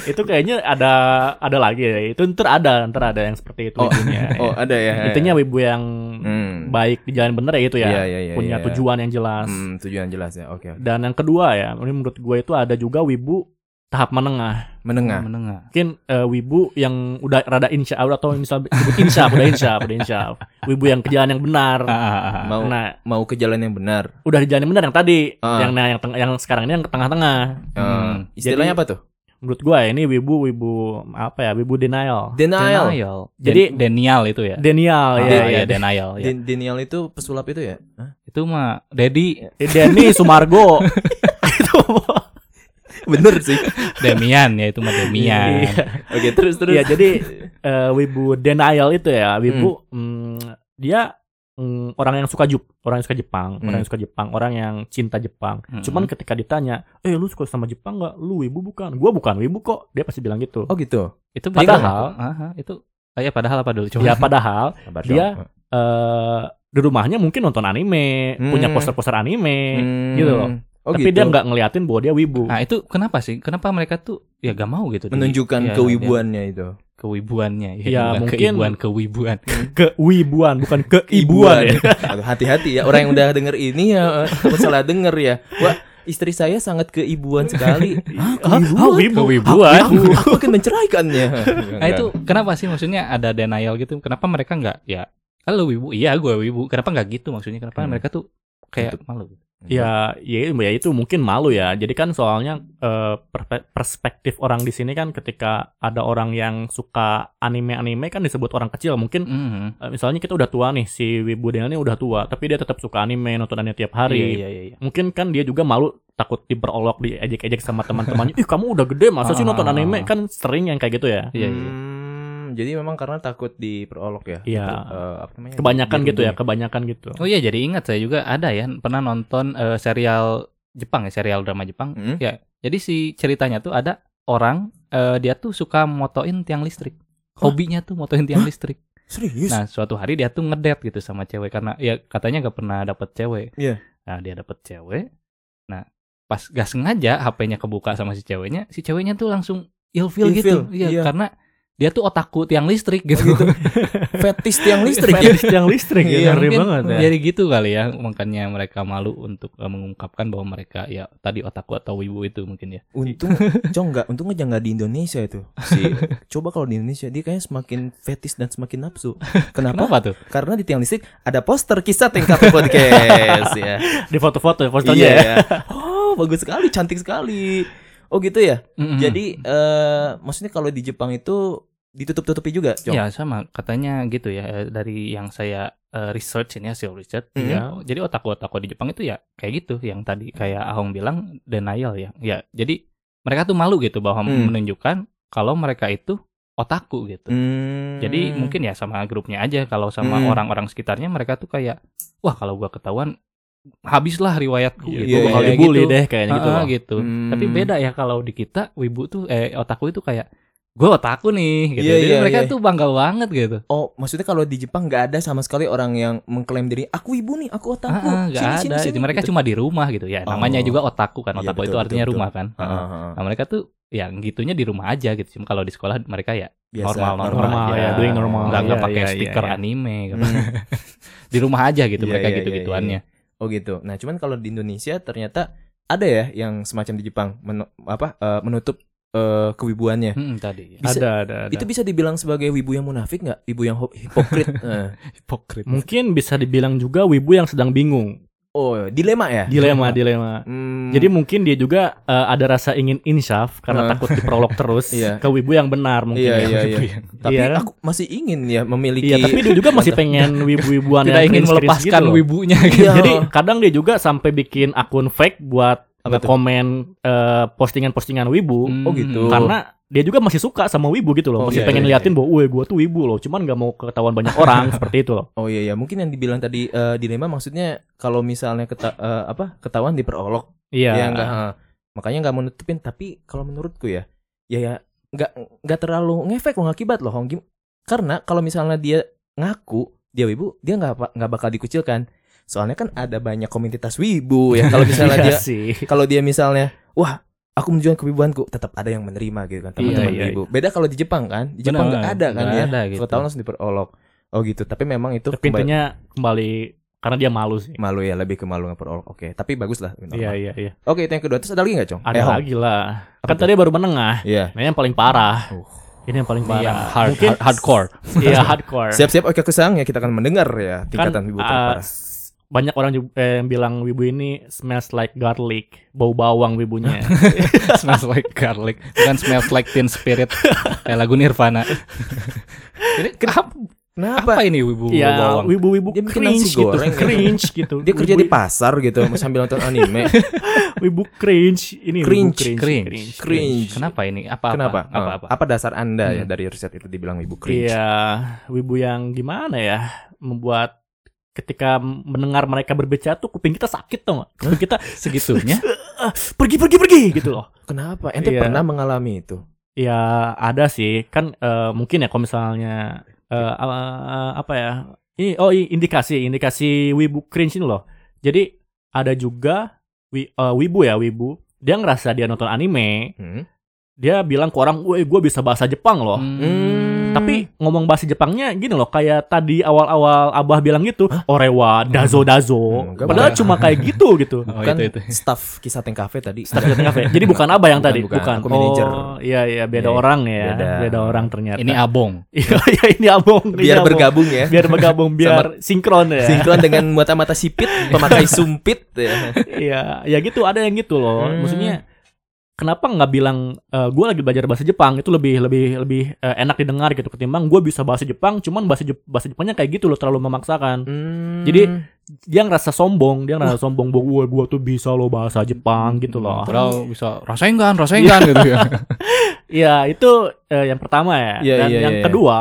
S3: itu kayaknya ada ada lagi ya itu ntar ada ntar ada yang seperti itu
S2: Oh,
S3: wibunya ya.
S2: oh, ada ya.
S3: intinya wibu yang
S2: Hmm.
S3: baik di jalan benar ya itu ya
S2: Iya, iya, iya,
S3: punya
S2: iya.
S3: tujuan yang jelas
S2: Hmm, tujuan jelas ya. Oke. oke.
S3: dan yang kedua ya ini menurut gue itu ada juga wibu tahap menengah
S2: Menengah.
S1: Menengah.
S3: mungkin eh, wibu yang udah rada insya atau misalnya disebut insyaf udah insyaf udah insyaf wibu yang ke jalan yang benar
S1: Ah, ah, ah.
S2: Mau
S3: nah
S2: mau ke jalan yang benar.
S3: udah di jalan yang benar yang tadi
S2: Ah.
S3: yang nah, yang teng- yang sekarang ini yang ke tengah-tengah
S2: Eh,
S1: Hmm.
S2: istilahnya
S3: Jadi-
S2: apa tuh?
S3: menurut gua ya, ini wibu wibu apa ya wibu denial ya,
S2: Denial. Oh,
S3: Jadi-
S1: Jadi Denial itu ya.
S3: denial
S1: Ah,
S3: ya,
S1: iya,
S3: ya.
S1: denial ya.
S2: Den- Denial itu pesulap itu ya? Hah?
S1: Itu mah Dedi,
S3: Eh, Denny Sumargo itu
S2: Bener sih.
S1: Demian ya itu mah Demian.
S3: Iya.
S2: Oke, terus terus.
S3: ya jadi eh, wibu denial itu ya wibu
S2: Hmm.
S3: mm, dia mm, orang yang suka Jep orang yang suka Jepang orang
S2: Hmm.
S3: yang suka Jepang orang yang cinta Jepang
S1: Mm.
S3: cuman ketika ditanya eh lu suka sama Jepang nggak lu wibu bukan gua bukan wibu kok dia pasti bilang gitu
S2: Oh gitu.
S1: Itu
S3: Padahal-
S1: ah, ah, itu ah, ya padahal apa dulu
S2: Oh.
S1: coba.
S3: ya padahal
S2: Sabar
S3: Dia
S2: dong.
S3: eh di rumahnya mungkin nonton anime
S2: Hmm.
S3: punya poster-poster anime
S2: Hmm.
S3: gitu loh.
S2: Oh,
S3: tapi dia
S2: gitu. Ah.
S3: nggak ngeliatin bahwa dia wibu.
S1: Nah, itu kenapa sih? Kenapa mereka tuh ya gak mau gitu di-
S2: menunjukkan
S1: ya,
S2: kewibuannya itu.
S1: dia- kewibuannya ya,
S3: Ya,
S1: bukan
S3: mungkin-
S1: keibuan keibuan.
S3: Kewibuan bukan keibuan ya.
S2: Aduh, Hati-hati ya orang yang udah denger ini ya eh, takut salah denger ya. Wah, istri saya sangat keibuan sekali. Hah,
S3: Ah, wibu.
S1: Kewibuan.
S2: Aku, aku akan menceraikannya.
S1: Nah, itu kenapa sih maksudnya ada denial gitu? Kenapa mereka nggak ya halo wibu, iya gue wibu. Kenapa nggak gitu maksudnya? Kenapa
S2: Hmm.
S1: mereka tuh kayak
S3: Gitu.
S1: malu? gitu?
S3: Ya, ya, ya itu mungkin malu ya. Jadi kan soalnya eh, perpe- perspektif orang di sini kan ketika ada orang yang suka anime-anime kan disebut orang kecil. Mungkin
S1: Mhm.
S3: eh, misalnya kita udah tua nih si wibu Daniel ini udah tua, tapi dia tetap suka anime, nonton anime tiap hari.
S1: Iya, iya, iya.
S3: mungkin kan dia juga malu takut diperolok diejek-ejek sama teman-temannya ih kamu udah gede masa sih nonton
S1: Ah.
S3: anime kan sering yang kayak gitu ya
S1: Iya, iya.
S2: Hmm, jadi memang karena takut diperolok ya.
S3: Iya.
S2: Eh, apa namanya?
S3: kebanyakan gitu ya
S2: Dirundung
S3: kebanyakan gitu
S1: Oh iya, jadi ingat saya juga ada ya pernah nonton eh, serial Jepang ya, serial drama Jepang.
S2: Hmm?
S1: Jadi si ceritanya tuh ada orang eh, dia tuh suka motoin tiang listrik. Hobinya tuh motoin tiang listrik.
S2: Serius?
S1: Nah, suatu hari dia tuh ngedet gitu sama cewek karena ya katanya gak pernah dapet cewek.
S2: Iya.
S1: Nah, dia dapet cewek. Nah, pas gak sengaja HP-nya kebuka sama si ceweknya, si ceweknya tuh langsung ilfeel gitu.
S2: Ilfeel,
S1: Iya,
S2: iya.
S1: karena dia tuh otakku tiang listrik gitu.
S2: gitu. Fetis tiang listrik ya.
S3: Fetish yang listrik
S2: Iya,
S3: ya ngeri
S1: Mungkin
S3: banget ya
S1: Jadi gitu kali ya, makanya mereka malu untuk eh, mengungkapkan bahwa mereka ya tadi otakku atau wibu itu mungkin ya.
S2: Untung, cong nggak, untung aja nggak di Indonesia itu. Si, coba kalau di Indonesia dia kayaknya semakin fetis dan semakin nafsu. Kenapa?
S1: Kenapa tuh?
S2: Karena di tiang listrik ada poster kisah tingkat podcast ya.
S3: di foto-foto ya,
S2: Iya.
S3: posternya ya
S2: ya. Oh, bagus sekali, cantik sekali. Oh gitu ya.
S1: Mm-mm.
S2: Jadi eh maksudnya kalau di Jepang itu ditutup-tutupi juga, Cong.
S1: Ya sama katanya gitu ya eh, dari yang saya eh, research ini hasil research
S2: Mhm.
S1: ya. Jadi otak-otak di Jepang itu ya kayak gitu yang tadi kayak Ahong bilang denial ya. Ya jadi mereka tuh malu gitu bahwa
S2: Hmm.
S1: menunjukkan kalau mereka itu otakku gitu.
S2: Hmm.
S1: Jadi mungkin ya sama grupnya aja kalau sama
S2: Hmm.
S1: orang-orang sekitarnya mereka tuh kayak wah kalau gua ketahuan habislah riwayatku
S3: Iya,
S1: gitu.
S2: iya,
S3: gua bakal
S1: Kayak
S3: dibully
S1: gitu.
S3: deh kayaknya gitu
S1: Heeh,
S3: loh.
S1: gitu.
S2: Hmm.
S1: Tapi beda ya kalau di kita wibu tuh eh otakku itu kayak gue otaku nih gitu.
S2: Iya,
S1: Jadi
S2: iya,
S1: mereka
S2: iya.
S1: tuh bangga banget gitu.
S2: Oh, maksudnya kalau di Jepang nggak ada sama sekali orang yang mengklaim diri aku ibu nih, aku otaku.
S1: Ah, ah, nggak ada. Jadi mereka
S2: gitu.
S1: cuma di rumah gitu ya. Namanya
S2: Oh.
S1: juga otaku kan.
S2: Iya,
S1: Otaku
S2: betul,
S1: itu
S2: betul,
S1: artinya
S2: betul.
S1: rumah kan.
S2: Ah, ah, ah.
S1: Nah, mereka tuh ya gitunya di rumah aja gitu. Cuma kalau di sekolah mereka ya
S2: Biasa,
S1: normal normal,
S3: normal,
S1: aja.
S3: ya, doing normal.
S1: Nggak nggak
S3: Iya,
S1: pakai
S3: iya, iya,
S1: stiker
S3: iya.
S1: anime gitu.
S2: Hmm.
S1: di rumah aja gitu
S2: Iya,
S1: mereka
S2: iya,
S1: gitu-gituannya.
S2: Oh gitu. Nah, cuman kalau di Indonesia ternyata ada ya yang semacam di Jepang menu- apa eh, menutup eh, kewibuannya.
S1: Hmm, tadi. ya.
S2: Bisa-
S3: ada, ada, ada.
S2: Itu bisa dibilang sebagai wibu yang munafik nggak? Wibu yang ho- hipokrit. Eh.
S1: Hipokrit.
S3: Gitu. Mungkin bisa dibilang juga wibu yang sedang bingung.
S2: Oh, dilema ya?
S3: Dilema, dilema.
S2: Hmm,
S3: Jadi mungkin dia juga eh, ada rasa ingin insyaf karena
S2: Nah.
S3: takut diperolok terus
S2: Iya.
S3: ke wibu yang benar mungkin.
S2: Iya,
S3: ya.
S2: iya, iya. tapi
S3: iya kan?
S2: aku masih ingin ya memiliki
S3: Iya, tapi dia juga masih pengen wibu-wibuan
S1: Tidak
S3: yang
S1: ingin
S3: cringe-cringe
S1: melepaskan
S3: gitu loh.
S1: wibunya gitu.
S2: Iya.
S3: Jadi kadang dia juga sampai bikin akun fake buat
S2: Apa tuh?
S3: komen postingan-postingan wibu
S1: Hmm,
S2: Oh, gitu.
S3: karena dia juga masih suka sama wibu gitu loh.
S2: Oh,
S3: masih
S2: iya,
S3: pengen
S2: iya,
S3: liatin bahwa "Weh, gua tuh wibu loh, cuman nggak mau ketahuan banyak orang seperti itu loh.
S2: Oh iya ya, mungkin yang dibilang tadi eh, dilema maksudnya kalau misalnya keta- eh, apa ketahuan diperolok
S3: Iya.
S2: ya enggak heeh. makanya nggak mau nutupin tapi kalau menurutku ya ya ya nggak nggak terlalu ngefek loh akibat loh Hong Kim karena kalau misalnya dia ngaku dia wibu dia nggak apa- nggak bakal dikucilkan soalnya kan ada banyak komunitas wibu ya kalau misalnya
S3: Iya
S2: dia
S3: sih.
S2: kalau dia misalnya wah aku menunjukkan kewibuanku tetap ada yang menerima gitu kan teman-teman
S3: Iya, iya,
S2: wibu beda kalau di Jepang kan di Jepang nggak ada kan
S1: Nggak
S2: ya
S1: ada gitu.
S2: gitu. tahun langsung diperolok oh gitu tapi memang itu
S3: Tapi intinya kembali karena dia malu sih.
S2: kembali- malu ya lebih ke malu ngeperolok oke tapi bagus lah normal.
S3: Iya iya iya.
S2: oke itu yang kedua terus ada lagi nggak cong
S3: Ada
S2: Eh, Hong.
S3: lagi lah.
S2: Apa
S3: Kan
S2: tuh?
S3: tadi baru menengah.
S2: iya
S3: Nah, yang paling parah.
S2: Uh.
S3: Ini yang paling
S1: Ini yang
S3: parah.
S1: hard- hard- hardcore.
S3: Iya hardcore.
S2: Siap-siap oke kesang ya kita akan mendengar ya tingkatan wibu
S3: uh,
S2: terparah.
S3: s- banyak orang juga, eh, yang bilang wibu ini smells like garlic, bau bawang wibunya.
S1: smells like garlic bukan smells like teen spirit kayak lagu Nirvana jadi kenapa
S2: Kenapa?
S1: apa ini wibu
S3: Iya,
S1: bawang
S3: wibu-wibu
S2: Dia bikin
S3: cringe
S2: nasi
S3: gitu,
S2: goreng.
S3: cringe gitu.
S2: Dia kerja
S3: Wibu-
S2: di pasar gitu sambil nonton anime.
S3: wibu cringe ini wibu
S2: Cringe,
S1: cringe
S2: Cringe.
S1: kenapa ini apa
S2: Kenapa?
S1: apa apa,
S2: Eh,
S1: apa?
S3: Oh.
S2: dasar Anda ya
S1: Hmm.
S2: dari riset itu dibilang wibu cringe?
S3: Iya, wibu yang gimana ya membuat ketika mendengar mereka berbicara tuh kuping kita sakit tau gak? Kuping kita
S1: segitunya
S3: "Ah, pergi pergi pergi gitu loh.
S2: Kenapa? Ente
S3: Iya.
S2: pernah mengalami itu?
S3: Ya ada sih kan eh, mungkin ya kalau misalnya eh, eh, apa ya ini oh i- indikasi indikasi wibu cringe ini loh. Jadi ada juga wi- eh, wibu ya wibu dia ngerasa dia nonton anime
S2: Hmm?
S3: dia bilang ke orang, "Woi, gue bisa bahasa Jepang loh."
S1: Hmm.
S3: Tapi ngomong bahasa Jepangnya gini loh, kayak tadi awal-awal Abah bilang gitu, orewa, dazo dazo.
S2: Hmm, enggak
S3: Padahal
S1: boleh.
S3: cuma kayak gitu gitu.
S1: oh,
S2: Bukan
S1: itu itu
S2: Kan staff kisah Teng Cafe tadi.
S3: Staff di tengah, Fe. Jadi bukan Abah yang
S2: Bukan,
S3: tadi,
S2: bukan.
S3: bukan.
S2: Aku manajer.
S3: Oh, iya iya, beda
S2: Iya,
S3: orang ya.
S2: beda.
S3: Beda. orang ternyata.
S1: ini abong
S3: Iya, iya, ini abong. ini
S2: Biar
S3: abong.
S2: bergabung ya.
S3: Biar bergabung, biar sinkron ya.
S2: Sinkron dengan mata-mata sipit, pemakai sumpit. ya.
S3: Iya, ya gitu ada yang gitu loh.
S2: Hmm.
S3: Maksudnya kenapa nggak bilang gue lagi belajar bahasa Jepang itu lebih lebih lebih eh, enak didengar gitu ketimbang gue bisa bahasa Jepang, cuman bahasa Jep- bahasa Jepangnya kayak gitu loh terlalu memaksakan.
S2: Hmm.
S3: Jadi- Dia ngerasa sombong, dia ngerasa sombong bahwa gue gue tuh bisa loh bahasa Jepang
S2: Hmm,
S3: gitu loh.
S1: Hmm. padahal bisa rasengan rasengan gitu ya
S3: Iya itu eh, yang pertama ya.
S2: Iya,
S3: Dan
S2: iya,
S3: yang
S2: iya.
S3: kedua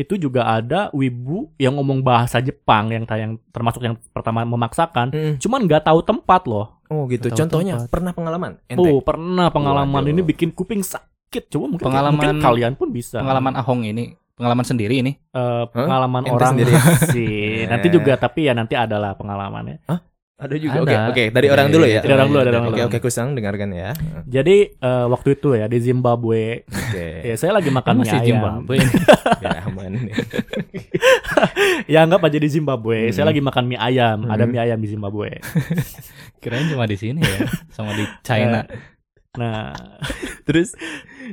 S3: itu juga ada wibu yang ngomong bahasa Jepang yang yang termasuk yang pertama memaksakan,
S2: Hmm.
S3: cuman nggak tahu tempat loh.
S2: oh gitu.
S3: Tahu
S2: Contohnya
S3: tempat.
S2: pernah pengalaman ente.
S3: Oh pernah pengalaman
S2: Waduh.
S3: ini bikin kuping sakit coba mungkin
S1: Pengalaman-
S3: mungkin kalian pun bisa
S1: pengalaman ahong ini pengalaman sendiri ini
S3: Eh, pengalaman
S2: Ente
S3: orang
S2: sendiri.
S3: sih
S2: Eh.
S3: nanti juga tapi ya nanti adalah pengalamannya
S2: Ada
S1: Ada.
S2: juga. Oke, oke, dari orang dulu ya.
S3: Dari orang dulu, dari orang
S2: Oke,
S3: dulu.
S2: oke, kusang dengarkan ya.
S3: jadi eh, waktu itu ya di Zimbabwe
S2: Oke.
S3: ya saya lagi makan mie
S1: masih
S3: ayam
S1: Zimbabwe ini.
S2: Biar aman.
S3: ya anggap aja di Zimbabwe saya
S2: Hmm.
S3: lagi makan mie ayam ada
S2: Hmm.
S3: mie ayam di Zimbabwe
S1: kirain cuma di sini ya sama di China
S3: Eh, nah
S2: Terus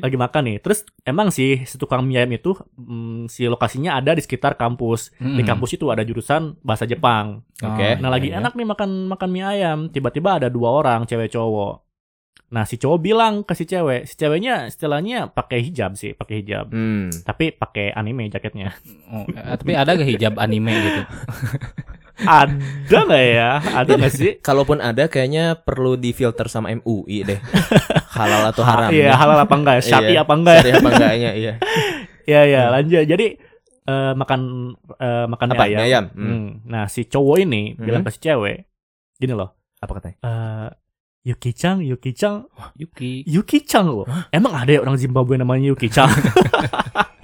S3: lagi makan nih terus emang sih si tukang mie ayam itu mm, si lokasinya ada di sekitar kampus di
S1: Mm-mm.
S3: kampus itu ada jurusan bahasa Jepang
S2: Oke.
S1: Oh,
S3: Nah lagi
S1: Hmm. iya, iya.
S3: enak nih makan makan mie ayam, tiba-tiba ada dua orang cewek cowok. Nah si cowok bilang ke si cewek, si ceweknya istilahnya pakai hijab sih, pakai hijab.
S2: Hmm.
S3: Tapi pakai anime jaketnya.
S1: Oh, eh, tapi ada gak hijab anime gitu
S3: ada nggak ya? Ada nggak sih?
S2: Kalaupun ada kayaknya perlu difilter sama MUI deh. Halal atau haram.
S3: Iya
S2: ya?
S3: halal apa enggak? Syari apa ya? enggak?
S2: Syari apa enggaknya, iya.
S3: Iya iya lanjut. Jadi eh, makan eh, makan mie
S2: Hmm. Apa?
S3: ayam.
S2: Mie ayam. Hmm.
S3: Hmm. Nah si cowok ini bilang ke si cewek, gini loh.
S2: Apa katanya?
S3: eh Yuki Chang, Yuki Chang,
S1: Yuki.
S3: Yuki Chang loh. Emang ada ya orang Zimbabwe namanya Yuki Chang?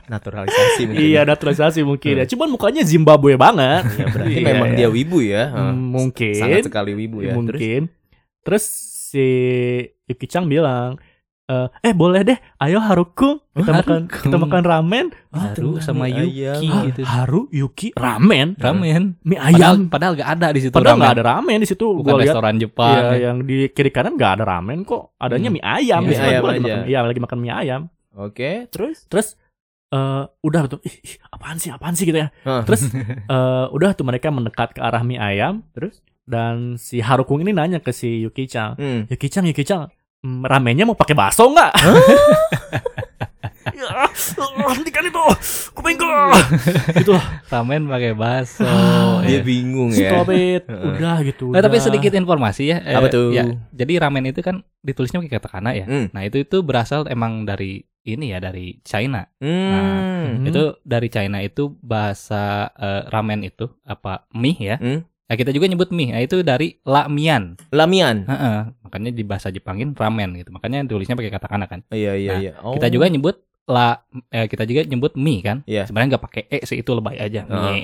S2: naturalisasi mungkin.
S3: iya, naturalisasi mungkin ya. Cuman mukanya Zimbabwe banget.
S2: Hmm. Iya, berarti
S3: Iya,
S2: memang
S3: iya.
S2: dia wibu ya.
S3: Hmm, mungkin.
S2: Sangat sekali wibu ya. Terus
S3: mungkin. Terus, si Yuki Chang bilang, "Eh, eh boleh deh, ayo Haruku kita
S1: Oh,
S3: makan
S1: Haruko.
S3: kita makan ramen.
S1: Haru sama
S2: ayam.
S1: Yuki
S3: Hah,
S1: gitu.
S3: Haru Yuki ramen,
S2: Ya.
S1: Ramen.
S3: mie
S1: Padahal,
S3: Ah. ayam.
S1: padahal gak ada di situ
S3: Padahal
S1: ramen.
S3: nggak ada ramen di situ.
S1: Bukan
S3: Gua lihat
S1: restoran Jepang.
S3: Iya, yang di kiri kanan nggak ada ramen kok. Adanya
S1: Hmm.
S3: mie ayam.
S1: Mie
S3: Cuman
S2: ayam
S3: gua lagi
S2: aja.
S3: makan- Iya, lagi makan mie ayam.
S2: oke, terus
S3: Terus eh udah tuh, ih, ih, apaan sih, apaan sih gitu ya.
S2: Hah.
S3: Terus eh udah tuh mereka mendekat ke arah mie ayam. Terus dan si Harukung ini nanya ke si Yuki Chang,
S2: Hmm.
S3: Yuki Chang, Yuki Chang, mm, ramennya mau pakai bakso nggak? Ya, eh, Hentikan itu, kupingku. gitu lah,
S1: Ramen pakai bakso.
S2: dia
S1: Iya.
S2: bingung
S3: Ah,
S2: ya.
S3: stop it.
S2: Heeh.
S3: Udah gitu.
S1: Nah, tapi
S3: udah.
S1: sedikit informasi ya. eh,
S2: Apa tuh?
S1: ya, jadi ramen itu kan ditulisnya pakai katakana ya.
S2: Hmm.
S1: Nah, itu itu berasal emang dari ini ya dari China.
S2: Hmm.
S3: Hmm.
S1: Itu dari China itu bahasa eh, ramen itu apa mie ya.
S2: Hmm.
S1: Nah, kita juga nyebut mie. Nah, itu dari lamian.
S2: Lamian.
S1: Heeh. Makanya di bahasa Jepangin ramen gitu. Makanya tulisnya pakai katakana kan.
S2: Iya iya
S1: Nah,
S2: iya. Oh.
S1: Kita juga nyebut la eh, kita juga nyebut mie kan.
S2: Iya.
S1: Sebenarnya nggak pakai e sih itu lebay aja.
S2: Heeh.
S1: Mie.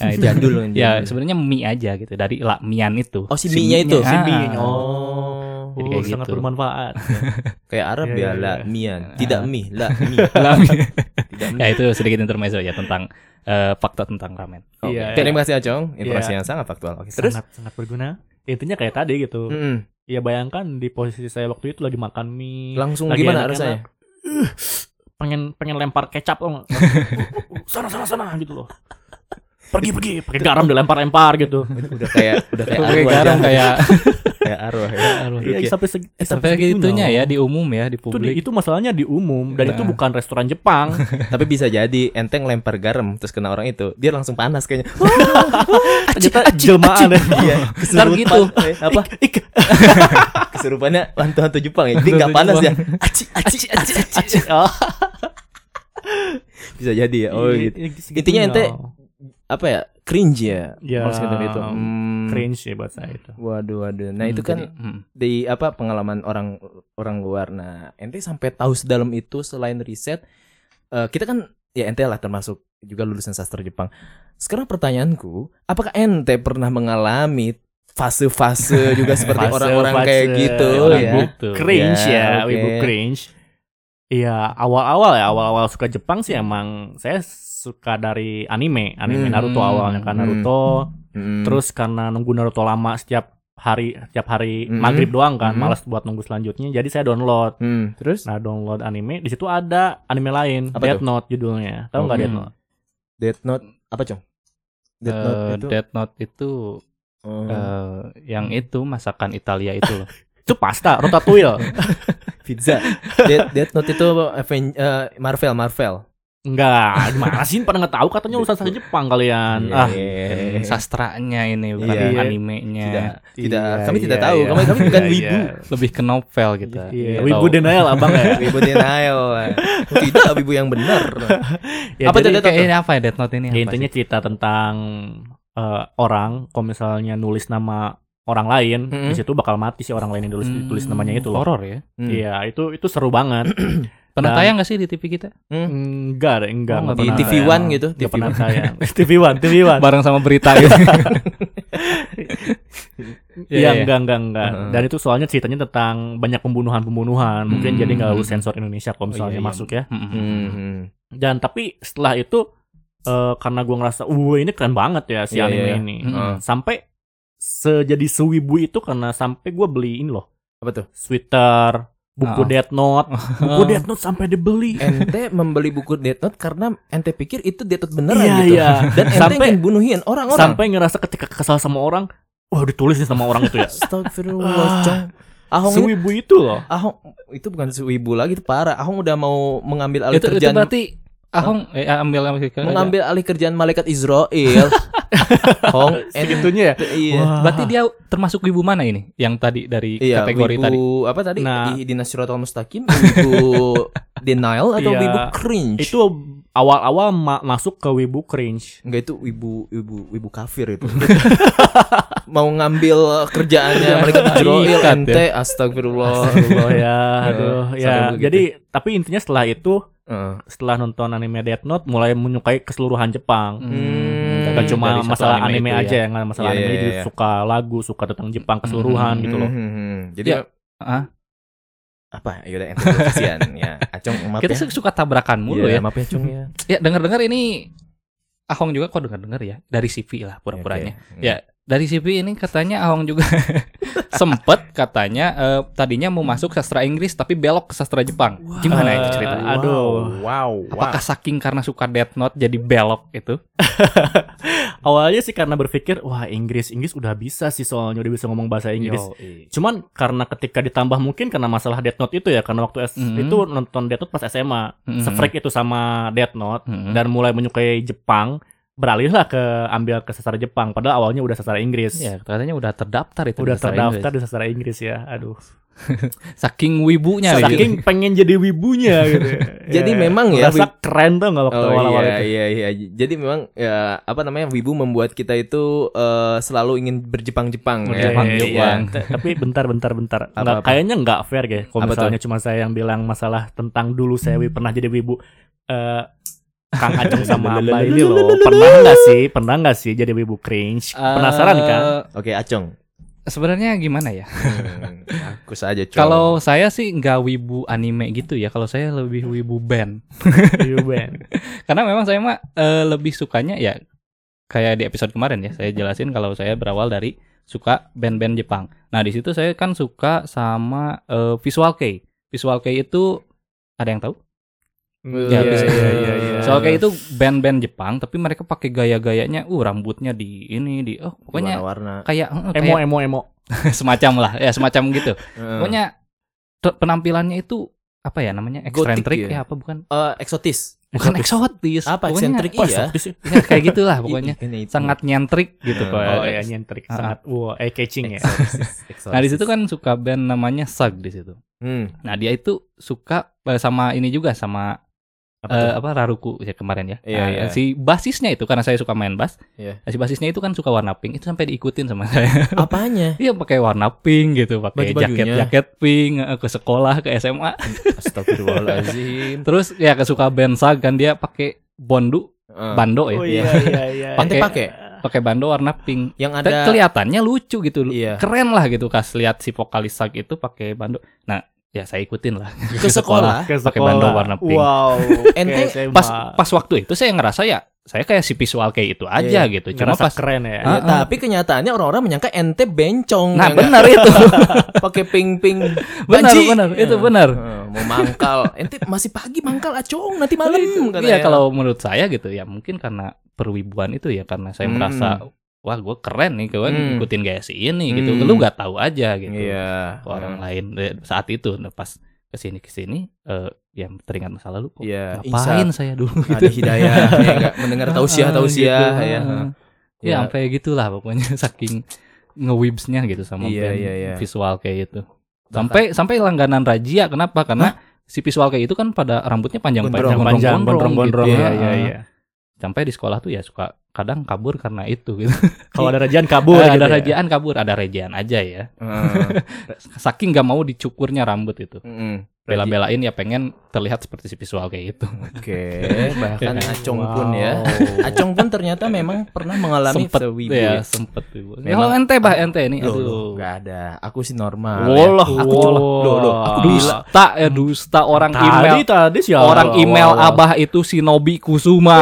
S3: Iya,
S1: nah, itu
S2: jadul loh,
S1: Ya
S2: jadul.
S1: sebenarnya mie aja gitu dari lamian itu.
S2: Hmm. Oh, si mie-nya itu?
S1: mie-nya.
S3: Si
S1: Ah.
S3: mie-nya.
S2: Oh.
S1: Jadi
S3: Oh,
S1: kayak
S3: sangat
S1: gitu.
S3: bermanfaat.
S2: Kayak Arab
S3: Iya,
S2: ya,
S3: iya,
S2: la
S3: iya.
S2: mian.
S1: Ah.
S2: Tidak mie, la mie.
S1: Lamian.
S2: Tidak mie.
S1: ya itu sedikit intermezzo ya tentang eh, fakta tentang ramen.
S2: Oke.
S3: Iya,
S2: Terima kasih Acong, informasi
S3: Iya.
S2: yang sangat faktual. Oke,
S3: Terus
S2: terus Hmm.
S3: sangat, sangat berguna. Intinya kayak tadi gitu.
S2: Mm-mm.
S3: Ya bayangkan di posisi saya waktu itu lagi makan mie,
S2: langsung
S3: Iya. Lagi
S2: gimana
S3: enak-enak. Uh,
S2: rasanya?
S3: pengen pengen lempar kecap loh. sana sana sana gitu loh. Pergi pergi, pakai garam dilempar-lempar gitu.
S2: Udah kayak udah kayak
S1: Pakai
S2: arwah
S1: garam
S2: aja.
S1: kayak
S2: kayak arwah ya.
S3: Iya, sampai segi,
S1: sampai gitunya ya di umum ya di
S3: Itu, di-
S1: publik.
S3: itu masalahnya di umum dan
S1: Nah.
S3: itu bukan restoran Jepang.
S2: Tapi bisa jadi enteng lempar garam terus kena orang itu, dia langsung panas kayaknya.
S3: Ternyata jelmaan ya.
S2: Iya, kesurupan.
S1: gitu.
S2: Eh, apa?
S3: Ik, ik.
S2: Kesurupannya hantu-hantu Jepang ya. Jadi nggak panas
S1: Hantu-hantu
S2: ya. Aci, aci, aci, aci.
S3: Oh,
S2: Bisa jadi ya. Oh
S3: iya,
S2: gitu.
S3: iya,
S2: Intinya
S3: segitunya.
S2: ente- Apa ya? Cringe ya.
S3: Ya,
S2: Harus kata gitu. Hmm.
S3: cringe ya buat saya itu.
S2: Waduh, waduh. Nah,
S1: Hmm,
S2: itu kan
S1: jadi, hmm.
S2: di apa pengalaman orang orang luar. Nah, ente sampai tahu sedalam itu selain riset eh, kita kan ya ente lah termasuk juga lulusan sastra Jepang. Sekarang pertanyaanku, apakah ente pernah mengalami fase-fase juga seperti
S3: Fase-fase
S2: orang-orang kayak gitu
S1: Orang
S2: ya?
S1: gitu.
S3: cringe
S2: Ya,
S3: ya,
S2: oke.
S3: wibu cringe. Iya, awal-awal ya, awal-awal suka Jepang sih emang saya suka dari anime, anime
S2: Hmm.
S3: Naruto awalnya kan
S2: Hmm.
S3: Naruto.
S2: Mm.
S3: Terus karena nunggu Naruto lama setiap hari, setiap hari
S2: Hmm.
S3: maghrib doang kan,
S2: Hmm.
S3: malas buat nunggu selanjutnya. Jadi saya download.
S2: Hmm, terus
S3: Nah, download anime, di situ ada anime lain,
S2: Apa
S3: Death
S2: tuh?
S3: Note judulnya. Tahu
S2: Oh,
S3: nggak Death
S1: hmm.
S3: Note?
S2: Death Note apa, Cong? Death Note
S1: Eh,
S2: itu.
S1: Death Note itu
S2: Oh.
S1: eh, yang itu masakan Italia itu loh.
S3: Itu pasta, Ratatouille.
S2: Pizza. Death, Death Note itu Aven- eh, Marvel, Marvel.
S3: Enggak, gimana sih? Pada nggak tahu katanya urusan sastra Jepang kalian.
S2: Iya.
S3: Ah,
S1: Dan Eh, sastranya ini bukan
S2: Iya.
S1: animenya. Ya,
S2: tidak, tidak,
S3: iya,
S2: kami tidak
S3: iya,
S2: tahu.
S3: iya.
S2: Kami kami bukan
S3: Iya,
S2: wibu.
S3: iya.
S1: Lebih ke novel gitu.
S3: Iya,
S1: Atau-
S3: wibu denial abang ya.
S2: Wibu denial. Tidak wibu yang benar.
S3: Ya, jadi-
S2: Apa tuh Iya, Death Note?
S1: Kayak ini apa ya Death Note ini?
S3: Ya,
S1: apa
S3: intinya
S1: sih?
S3: cerita tentang eh, orang, kalau misalnya nulis nama orang lain,
S2: Mm-mm.
S3: di situ bakal mati si orang lain yang nulis tulis
S1: Hmm,
S3: namanya itu loh.
S1: Horor ya.
S2: Hmm.
S3: Iya, itu itu seru banget.
S1: Pernah
S3: Dan-
S1: tayang gak sih di TV kita?
S3: enggak, deh, enggak,
S1: Oh,
S3: enggak
S2: Di
S3: pernah
S2: TV
S3: tayang.
S2: One gitu,
S3: Enggak
S2: TV
S3: pernah
S2: One.
S3: tayang. TV One, TV One.
S1: Bareng sama berita gitu.
S3: Iya, enggak, enggak, enggak.
S2: Heeh.
S3: Dan itu soalnya ceritanya tentang banyak pembunuhan-pembunuhan. Mungkin
S1: Hmm.
S3: jadi nggak lulus sensor Indonesia kalau misalnya
S2: Oh, iya,
S3: masuk ya.
S2: Hmm.
S1: Mhm.
S3: Dan tapi setelah itu eh, karena gua ngerasa, "Wah, ini keren banget ya si
S2: Iya,
S3: anime
S2: iya.
S3: ini."
S1: Mm-mm.
S2: Heeh.
S3: Sampai sejadi sewibu itu karena sampai gua beli ini loh
S2: Apa tuh?
S3: sweater, buku
S1: Ah.
S3: Death Note, buku Death Note sampai dibeli.
S2: Ente membeli buku Death Note karena ente pikir itu Death Note beneran
S3: Iya,
S2: gitu.
S3: iya.
S2: Dan ente
S3: Sampai-
S2: ingin bunuhin orang-orang.
S3: Sampai ngerasa ketika kesal sama orang, wah ditulis nih sama orang itu ya.
S2: Astagfirullah,
S3: Ah.
S2: Cong. Ahong ini-
S3: Sewibu itu loh.
S2: Ahong itu bukan wibu lagi itu parah. Ahong udah mau mengambil alih
S1: itu, itu
S2: kerjaan
S1: berarti Ahong eh, ambil ambil ke-
S2: mengambil alih kerjaan malaikat Israel. Hong ente
S3: Segitunya ya.
S2: iya.
S3: Wah.
S1: Berarti dia termasuk wibu mana ini? Yang tadi dari
S2: Iya,
S1: kategori
S2: wibu,
S1: tadi.
S2: apa tadi?
S3: Nah.
S2: Di, di Nasiratul Mustaqim, wibu denial atau
S3: Iya.
S2: wibu cringe?
S3: itu awal-awal ma- masuk ke wibu cringe.
S2: Enggak itu ibu ibu ibu kafir itu. Mau ngambil kerjaannya mereka dijeroil
S1: Ikat,
S2: ente astagfirullah.
S3: Oh ya, aduh,
S2: Iya, Sampai
S3: ya.
S2: begitu.
S3: Jadi tapi intinya setelah itu
S2: Heeh.
S3: setelah nonton anime Death Note mulai menyukai keseluruhan Jepang.
S2: Hmm.
S3: Gak cuma
S1: dari satu
S3: masalah anime,
S1: itu
S3: aja
S1: ya.
S3: yang masalah
S2: Iya,
S3: anime
S2: iya,
S3: jadi
S2: iya.
S3: suka lagu, suka tentang Jepang keseluruhan
S1: Hmm,
S3: gitu loh.
S2: Hmm, Jadi
S1: Ya. Ah.
S2: apa? Ya udah ente dulu, kasihan ya. Acong maaf
S1: Kita
S2: ya.
S1: suka tabrakan mulu
S2: Iya,
S1: ya.
S2: Maaf ya Acong ya.
S1: Ya dengar-dengar ini Ahong juga kok dengar-dengar ya dari CV lah pura-puranya.
S2: Oke. Hmm.
S1: Ya. Dari CV ini katanya Ahong juga sempet katanya eh, tadinya mau masuk sastra Inggris tapi belok ke sastra Jepang. Gimana itu
S3: Eh,
S1: ceritanya?
S3: aduh.
S2: Wow. Wow.
S1: Apakah saking karena suka Death Note jadi belok itu?
S3: Awalnya sih karena berpikir wah Inggris Inggris udah bisa sih soalnya udah bisa ngomong bahasa Inggris. Cuman karena ketika ditambah mungkin karena masalah Death Note itu ya karena waktu S-
S1: Mhm.
S3: itu nonton Death Note pas SMA,
S1: Mm-mm.
S3: sefreak itu sama Death Note
S1: Mm-mm.
S3: dan mulai menyukai Jepang, beralihlah ke ambil ke sastra Jepang padahal awalnya udah sastra Inggris.
S1: ya katanya udah terdaftar itu di
S3: udah
S1: sastra
S3: terdaftar
S1: Inggris.
S3: di sastra Inggris ya. Aduh.
S1: Saking wibunya gitu. dia.
S3: Saking pengen jadi wibunya gitu.
S2: Jadi
S3: Ya.
S2: memang ya,
S3: Berasa keren tuh nggak waktu
S2: Oh
S3: awal-awal
S2: iya
S3: itu.
S2: iya iya. Jadi memang ya apa namanya Wibu membuat kita itu eh, selalu ingin berjepang-jepang
S3: Iya,
S2: ya.
S1: Jepang,
S3: iya,
S1: Jepang.
S3: iya. T- Tapi bentar bentar bentar. Nggak,
S2: Apa-apa?
S3: kayaknya nggak fair ya. Kalau
S2: Apa
S3: misalnya cuma saya yang bilang masalah tentang dulu saya wi- pernah jadi wibu. Eh, Kang Ajeng sama Amba ini loh. Pernah nggak sih? Pernah nggak sih jadi wibu cringe? Penasaran kan?
S1: Iya.
S2: Oke, Acong.
S1: Eh, Sebenarnya gimana ya?
S2: Hmm, aku saja Cong.
S1: Kalau saya sih nggak wibu anime gitu ya. Kalau saya lebih wibu band.
S3: Wibu band.
S1: Karena memang saya mah eh, lebih sukanya ya kayak di episode kemarin ya. Saya jelasin kalau saya berawal dari suka band-band Jepang. Nah di situ saya kan suka sama eh, Visual K. Visual K itu ada yang tahu?
S2: Iya,
S1: bisa.
S2: iya, iya, iya.
S1: Soal kayak itu band-band Jepang, tapi mereka pakai gaya-gayanya, uh rambutnya di ini di, oh pokoknya
S2: warna-warna.
S1: kayak eh,
S3: emo
S1: kayak
S3: emo emo.
S1: semacam lah, ya semacam gitu.
S2: Eh,
S1: Pokoknya te- penampilannya itu apa ya namanya
S2: Gotik
S1: eksentrik
S2: ya?
S1: ya? apa bukan
S2: eh, eksotis.
S1: bukan eksotis
S2: Apa
S1: pokoknya-
S2: eksentrik
S1: Wah,
S2: iya?
S1: ya, kayak gitulah pokoknya
S2: Ini itu.
S1: sangat nyentrik gitu
S2: Hmm.
S1: Pak.
S3: Oh ya nyentrik
S1: Ah.
S3: sangat wow eye catching ya.
S2: Eh, Eksotis, eksotis.
S1: nah di situ kan suka band namanya Sug di situ
S2: Hmm.
S1: nah dia itu suka eh, sama ini juga sama
S3: Apa
S1: Eh,
S3: tuh?
S1: apa Raruku ya kemarin ya.
S2: Iya,
S1: Nah,
S2: iya.
S1: Si basisnya itu karena saya suka main bass.
S2: Iya.
S1: nah, Si basisnya itu kan suka warna pink itu sampai diikutin sama saya.
S2: Apanya?
S1: Iya pakai warna pink gitu, pakai
S2: Baju-bajunya.
S1: jaket jaket pink eh, ke sekolah ke SMA.
S2: Astagfirullahalazim.
S1: Terus ya kesuka band Sag kan dia pakai bondu
S2: Eh,
S1: bando ya.
S3: Oh iya iya iya.
S1: Pakai-
S2: pakai?
S1: Pakai bando warna pink.
S2: yang
S1: Dan
S2: ada
S1: kelihatannya lucu gitu.
S2: Iya.
S1: Keren lah gitu kas lihat si vokalis Sag itu pakai bando. Nah, ya saya ikutin lah.
S2: ke sekolah.
S3: Ke
S1: Pakai bando
S3: sekolah.
S1: warna pink.
S3: Wow.
S2: Ente
S3: Oke, SMA.
S1: Pas pas waktu itu saya ngerasa ya saya kayak si visual kayak itu
S2: Iya,
S1: aja gitu. Cuma
S3: Ngerasa
S1: pas
S3: keren ya.
S2: Ya, tapi kenyataannya orang-orang menyangka ente bencong
S1: Ah, Nah,
S2: yang
S1: benar itu.
S2: pakai ping-ping
S1: benar,
S2: Banci.
S1: benar, itu
S2: Iya.
S1: benar.
S2: Heeh, mau mangkal ente masih pagi mangkal acong nanti malam ya.
S1: Iya kalau menurut saya gitu ya mungkin karena perwibuan itu ya karena saya
S2: Hmm.
S1: merasa wah gue keren nih gue
S2: Hmm.
S1: ngikutin gaya si ini gitu.
S2: Hmm.
S1: Lu nggak tahu aja gitu.
S2: iya
S1: Ke orang lain Eh, saat itu nah, pas kesini kesini eh ya teringat masa lalu kok
S2: iya
S1: ngapain saya dulu
S2: insan, ada
S1: gitu.
S2: hidayah ya, nggak mendengar tausiah
S1: Ah,
S2: tausiah ya
S1: gitu. Ah.
S2: Ya.
S1: Ya sampai gitulah pokoknya saking ngewibsnya gitu sama
S2: Iya,
S1: band
S2: iya, iya.
S1: visual kayak itu. Sampai sampai langganan Rajia kenapa? Karena si visual kayak itu kan pada rambutnya panjang-panjang
S2: Gondrong,
S3: panjang
S1: gondrong,
S3: gondrong-gondrong.
S1: gitu.
S3: Iya
S1: Ah,
S3: iya
S1: ah.
S3: iya.
S1: Sampai di sekolah tuh ya suka kadang kabur karena itu gitu.
S3: Kalau ada rajaan kabur
S1: ada
S3: gitu ya.
S1: rajaan kabur, ada rajaan aja ya.
S2: Heeh.
S1: Saking gak mau dicukurnya rambut itu.
S2: ah, Mm-mm.
S1: Bela-belain ya pengen terlihat seperti si visual kayak gitu. itu.
S2: oke bahkan
S1: Iya.
S2: acong pun ya acong pun ternyata memang pernah mengalami
S1: sempet
S2: sewibu
S1: ya,
S2: ya.
S1: sempet wibu.
S2: Memang-
S1: Kalau ente bah ente ini
S2: Loh, loh,
S1: aduh.
S2: nggak ada aku sih
S3: Nah,
S2: normal ya.
S3: Woloh,
S2: aku colok. Loh, loh, aku
S1: Dusta ya dusta orang email.
S3: Tadi tadi siapa?
S1: Ya Orang email
S3: Wah, wah.
S1: Abah itu Shinobi Kusuma.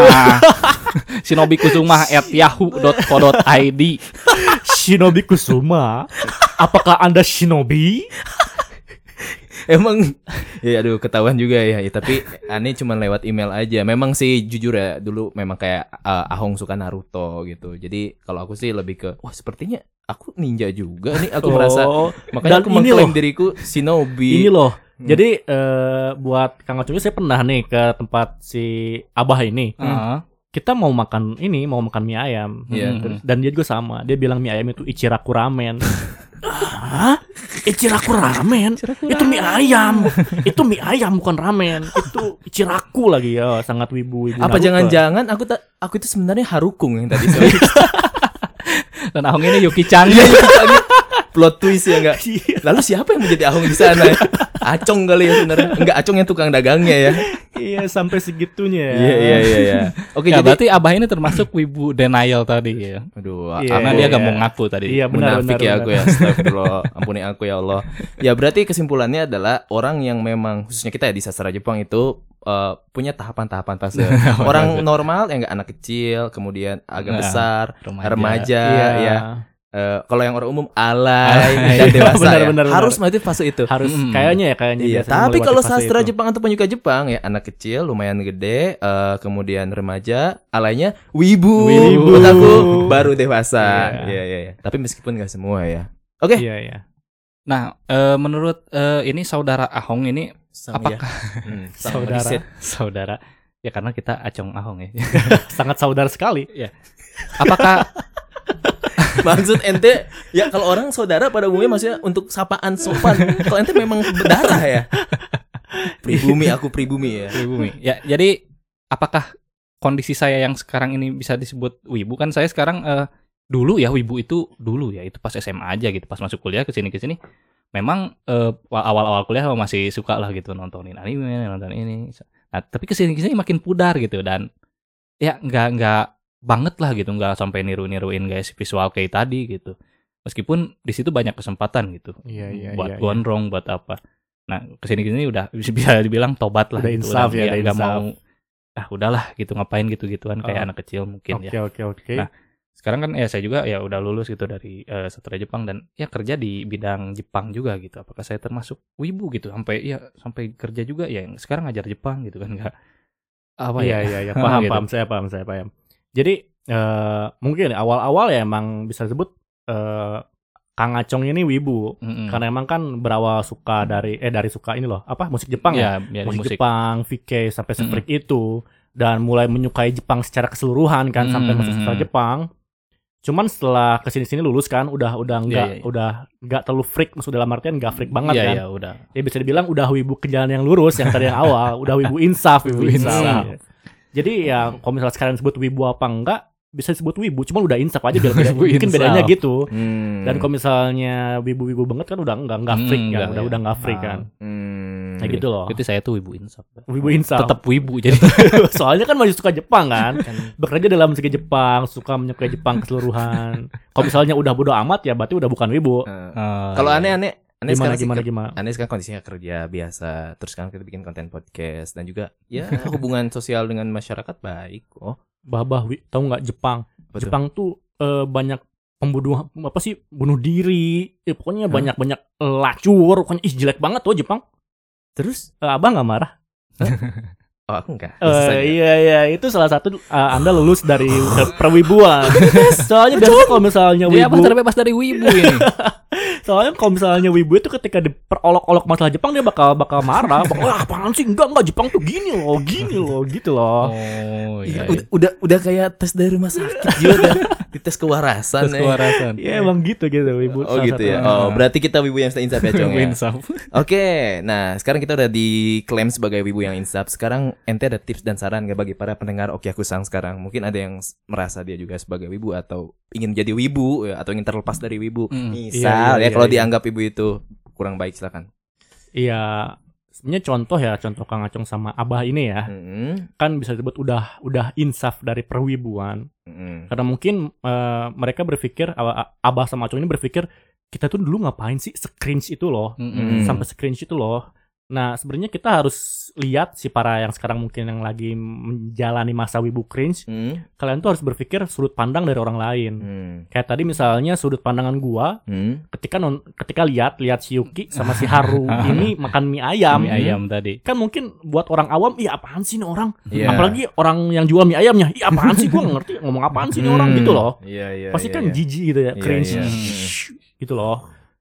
S1: Shinobi Kusuma at yahoo.co.id.
S3: Shinobi Kusuma. Apakah Anda Shinobi?
S2: Emang ya aduh ketahuan juga ya, Ya, tapi aneh cuma lewat email aja. Memang sih jujur ya dulu memang kayak eh, Ahong suka Naruto gitu. Jadi kalau aku sih lebih ke wah sepertinya aku ninja juga nih aku merasa
S3: Oh, dan
S2: makanya aku
S3: ini
S2: mengklaim
S3: loh.
S2: diriku shinobi.
S3: ini loh.
S2: Hmm.
S3: Jadi eh, buat Kang Acung saya pernah nih ke tempat si Abah ini.
S1: Heeh.
S3: Kita mau makan ini, mau makan mie ayam. Hmm,
S2: Iya.
S1: Mm-mm.
S3: Dan dia juga sama. Dia bilang mie ayam itu Ichiraku ramen. Hah? Ichiraku ramen. Itu mie ayam. itu mie ayam bukan ramen. Itu Ichiraku lagi ya, sangat wibu. wibu
S2: Apa
S3: Naruto.
S2: jangan-jangan aku tak aku itu sebenarnya Harukung yang tadi sorry.
S1: Dan Ahong ini Yuki Chan.
S2: Iya, iya, soalnya plot twist ya enggak.
S3: Iya.
S2: Lalu siapa yang menjadi Ahong di sana? Acong kali ya sebenarnya. Enggak Acong yang tukang dagangnya ya.
S3: Iya, sampai segitunya ya.
S2: Iya iya iya iya. Oke,
S1: ya,
S2: jadi
S1: berarti Abah ini termasuk wibu denial tadi ya.
S2: Aduh,
S3: Iya,
S1: Karena
S3: iya,
S1: dia gak
S3: iya.
S1: mau ngaku tadi.
S3: Iya, benar benar.
S2: munafik ya
S3: benar.
S2: aku ya astagfirullah ampuni aku ya Allah ya berarti kesimpulannya adalah orang yang memang khususnya kita ya di sastra Jepang itu eh, punya tahapan-tahapan fase orang normal yang enggak anak kecil kemudian agak
S1: Nah,
S2: besar
S1: Remaja.
S2: remaja
S3: Iya,
S2: ya Eh, kalau yang orang umum alay
S1: Alay.
S2: dan dewasa
S3: Benar,
S2: ya.
S3: benar, benar.
S2: harus melewati fase itu
S3: Harus
S1: Mm.
S3: kayaknya ya kayaknya
S2: Iya,
S3: biasanya
S2: tapi
S3: melewati
S2: kalau
S3: fase
S2: sastra
S3: itu.
S2: Jepang atau penyuka Jepang ya anak kecil lumayan gede, eh, kemudian remaja, alaynya wibu,
S3: Wibu.
S2: otaku, baru dewasa.
S3: Iya.
S2: Iya iya iya. Tapi meskipun nggak semua ya. Oke.
S3: Iya, iya.
S1: Nah, eh, menurut eh, ini saudara Ahong ini apakah
S2: Hmm, sama
S3: ya. Saudara.
S2: riset.
S1: saudara? Ya karena kita Acong Ahong ya.
S3: Sangat saudara sekali.
S1: apakah
S2: Maksud ente ya kalau orang saudara pada umumnya maksudnya untuk sapaan sopan. kalau ente memang berdarah ya. Pribumi aku pribumi ya.
S1: Wibu Mi? Ya, jadi apakah kondisi saya yang sekarang ini bisa disebut wibu kan saya sekarang eh, dulu ya wibu itu dulu ya itu pas SMA aja gitu pas masuk kuliah ke sini ke sini memang eh, wa- awal-awal kuliah masih suka lah gitu nontonin anime nonton ini nah, tapi ke sini ke sini makin pudar gitu dan ya nggak nggak banget lah gitu nggak sampai niru-niruin guys visual kayak tadi gitu meskipun di situ banyak kesempatan gitu
S3: Iya, iya, iya,
S1: buat
S3: iya.
S1: gondrong buat apa nah kesini kesini udah bisa bisa dibilang tobat lah
S3: Udah
S1: gitu.
S3: insaf ya, udah
S1: iya, nggak
S3: insaf.
S1: mau ah udahlah gitu ngapain gitu gituan kayak
S3: Oh.
S1: anak kecil mungkin ya
S3: Oke, oke, oke.
S1: Nah, sekarang kan ya saya juga ya udah lulus gitu dari eh, sastra Jepang dan ya kerja di bidang Jepang juga gitu apakah saya termasuk wibu gitu sampai ya sampai kerja juga ya yang sekarang ngajar Jepang gitu kan nggak apa
S3: Iya
S1: ya
S3: iya iya paham
S1: Gitu.
S3: paham saya paham saya paham. Jadi eh mungkin awal-awal ya emang bisa disebut eh Kang Acong ini wibu
S1: Mm-mm.
S3: karena emang kan berawal suka dari eh dari suka ini loh apa musik Jepang ya,
S1: ya, ya
S3: musik,
S1: di Hmm. musik, Hmm.
S3: Jepang VK sampai seperti itu dan mulai menyukai Jepang secara keseluruhan kan sampai
S1: Mm-mm.
S3: masuk sastra Jepang. Cuman setelah kesini-sini lulus kan udah udah
S1: Iya,
S3: nggak
S1: iya, iya.
S3: udah nggak terlalu freak maksud dalam artian nggak freak banget
S1: Iya,
S3: kan
S1: ya udah
S3: ya bisa dibilang udah wibu ke jalan yang lurus yang tadi yang awal udah wibu insaf wibu
S1: Wibu
S3: insaf
S2: insaf.
S3: Iya. jadi ya kalau misalnya sekarang disebut wibu apa enggak bisa disebut wibu cuma udah insaf aja biar beda,
S1: Wibu
S3: mungkin
S1: insaf.
S3: bedanya gitu
S2: Hmm.
S3: dan kalau misalnya wibu-wibu banget kan udah enggak enggak freak kan
S1: Hmm, enggak,
S3: udah
S1: iya.
S3: udah enggak freak
S1: Ah.
S3: kan
S2: Hmm.
S3: nah gitu loh
S1: Berarti saya tuh wibu insaf
S3: wibu insaf
S1: tetap wibu jadi
S3: soalnya kan masih suka Jepang kan bekerja dalam musik Jepang suka menyukai Jepang keseluruhan kalau misalnya udah bodo amat ya berarti udah bukan wibu
S2: Eh,
S1: Eh,
S2: Kalau aneh-aneh aneh
S3: gimana
S2: sekarang sih, kan
S3: gimana gimana
S2: Anda sekarang kondisinya kerja biasa, terus sekarang kita bikin konten podcast dan juga ya hubungan sosial dengan masyarakat baik kok.
S3: Babah wi tahu nggak Jepang
S2: Apa tuh?
S3: Jepang tuh eh, banyak pembunuhan apa sih bunuh diri Eh, pokoknya
S2: Hah?
S3: banyak banyak eh, lacur pokoknya ih jelek banget tuh Jepang
S2: Terus
S3: Eh, abang nggak marah
S2: oh aku enggak.
S3: Eh, iya iya itu salah satu eh, anda lulus dari
S2: Oh.
S3: per- perwibuan soalnya biasanya kalau misalnya
S2: Iya,
S1: dia apa
S3: wibu
S1: terbebas dari wibu ini
S3: soalnya kalau misalnya wibu itu ketika diperolok-olok masalah Jepang dia bakal bakal marah bakal wah apaan sih enggak enggak Jepang tuh gini loh gini loh gitu loh
S1: oh
S2: Iya, udah, udah udah kayak tes dari rumah sakit juga dites kewarasan ya.
S1: terus kewarasan
S3: Iya emang gitu gitu wibu
S2: Oh
S3: salah satu-
S2: gitu ya. Oh, berarti kita wibu yang sudah insaf ya, Cong.
S1: wibu
S2: ya?
S1: insaf
S2: Oke, nah sekarang kita udah diklaim sebagai wibu yang insaf. Sekarang ente ada tips dan saran nggak bagi para pendengar Okiaku Sang sekarang? Mungkin ada yang s- merasa dia juga sebagai wibu atau ingin jadi wibu ya, atau ingin terlepas dari wibu.
S1: Mm.
S2: Misal
S3: Iya, iya,
S2: ya
S3: iya,
S2: kalau
S3: iya.
S2: dianggap wibu itu kurang baik silakan.
S3: Iya sebenarnya contoh ya contoh Kang Acong sama Abah ini ya
S2: Mm-mm.
S3: kan bisa disebut udah udah insaf dari perwibuan
S2: Mm-mm.
S3: karena mungkin eh, mereka berpikir Ab- abah sama acung ini berpikir kita tuh dulu ngapain sih scringe itu loh
S1: Mm-mm.
S3: sampai scringe itu loh nah sebenarnya kita harus lihat si para yang sekarang mungkin yang lagi menjalani masa wibu cringe
S2: Mm.
S3: kalian tuh harus berpikir sudut pandang dari orang lain
S2: Mm.
S3: kayak tadi misalnya sudut pandangan gua
S2: Mm.
S3: ketika non ketika lihat lihat si Yuki sama si Haru ini makan mie
S2: Iya.
S3: ayam
S1: mie ayam tadi
S3: kan mungkin buat orang awam iya apaan sih nih orang
S2: Iya.
S3: apalagi orang yang jual mie ayamnya iya apaan sih gua nggak ngerti ngomong apaan sih nih orang
S2: Hmm.
S3: gitu loh
S2: Iya, iya,
S3: pasti
S2: iya,
S3: kan
S2: iya.
S3: jijik gitu ya
S2: Iya,
S3: cringe
S2: iya.
S3: Shhh, gitu loh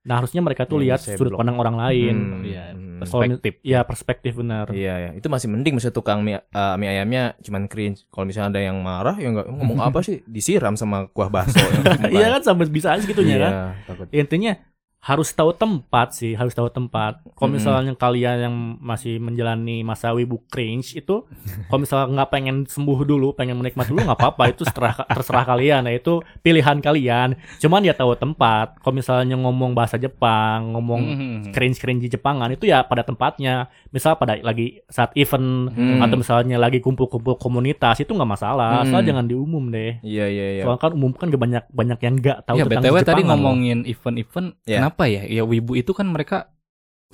S3: nah harusnya mereka tuh
S2: Iya,
S3: lihat
S2: saya
S3: sudut
S2: blok.
S3: pandang orang lain
S2: Hmm.
S1: Iya,
S2: Hmm.
S1: perspektif.
S3: ya perspektif benar
S2: Iya, iya. Itu masih mending misalnya tukang mie, eh, mie ayamnya cuman cringe. Kalau misalnya ada yang marah ya enggak ngomong apa sih? Disiram sama kuah bakso.
S3: iya kan sampai bisa aja gitu ya kan
S2: takut.
S3: intinya harus tahu tempat sih, harus tahu tempat. Kalau
S2: Mm-mm.
S3: misalnya kalian yang masih menjalani masa wibu cringe itu, kalau misalnya nggak pengen sembuh dulu, pengen menikmati dulu nggak apa-apa, itu terserah, terserah kalian. Nah itu pilihan kalian. Cuman ya tahu tempat. Kalau misalnya ngomong bahasa Jepang, ngomong
S1: Mhm.
S3: cringe cringe di Jepangan itu ya pada tempatnya. Misal pada lagi saat event
S2: Hmm.
S3: atau misalnya lagi kumpul-kumpul komunitas itu nggak masalah, asal
S2: Hmm.
S3: jangan diumum deh.
S2: Iya iya iya.
S3: Soalnya kan umum kan banyak banyak yang nggak tahu
S1: ya
S3: tentang
S1: btw tadi
S3: Jepangan loh.
S1: ngomongin event-event,
S2: Ya.
S1: kenapa ya? Ya wibu itu kan mereka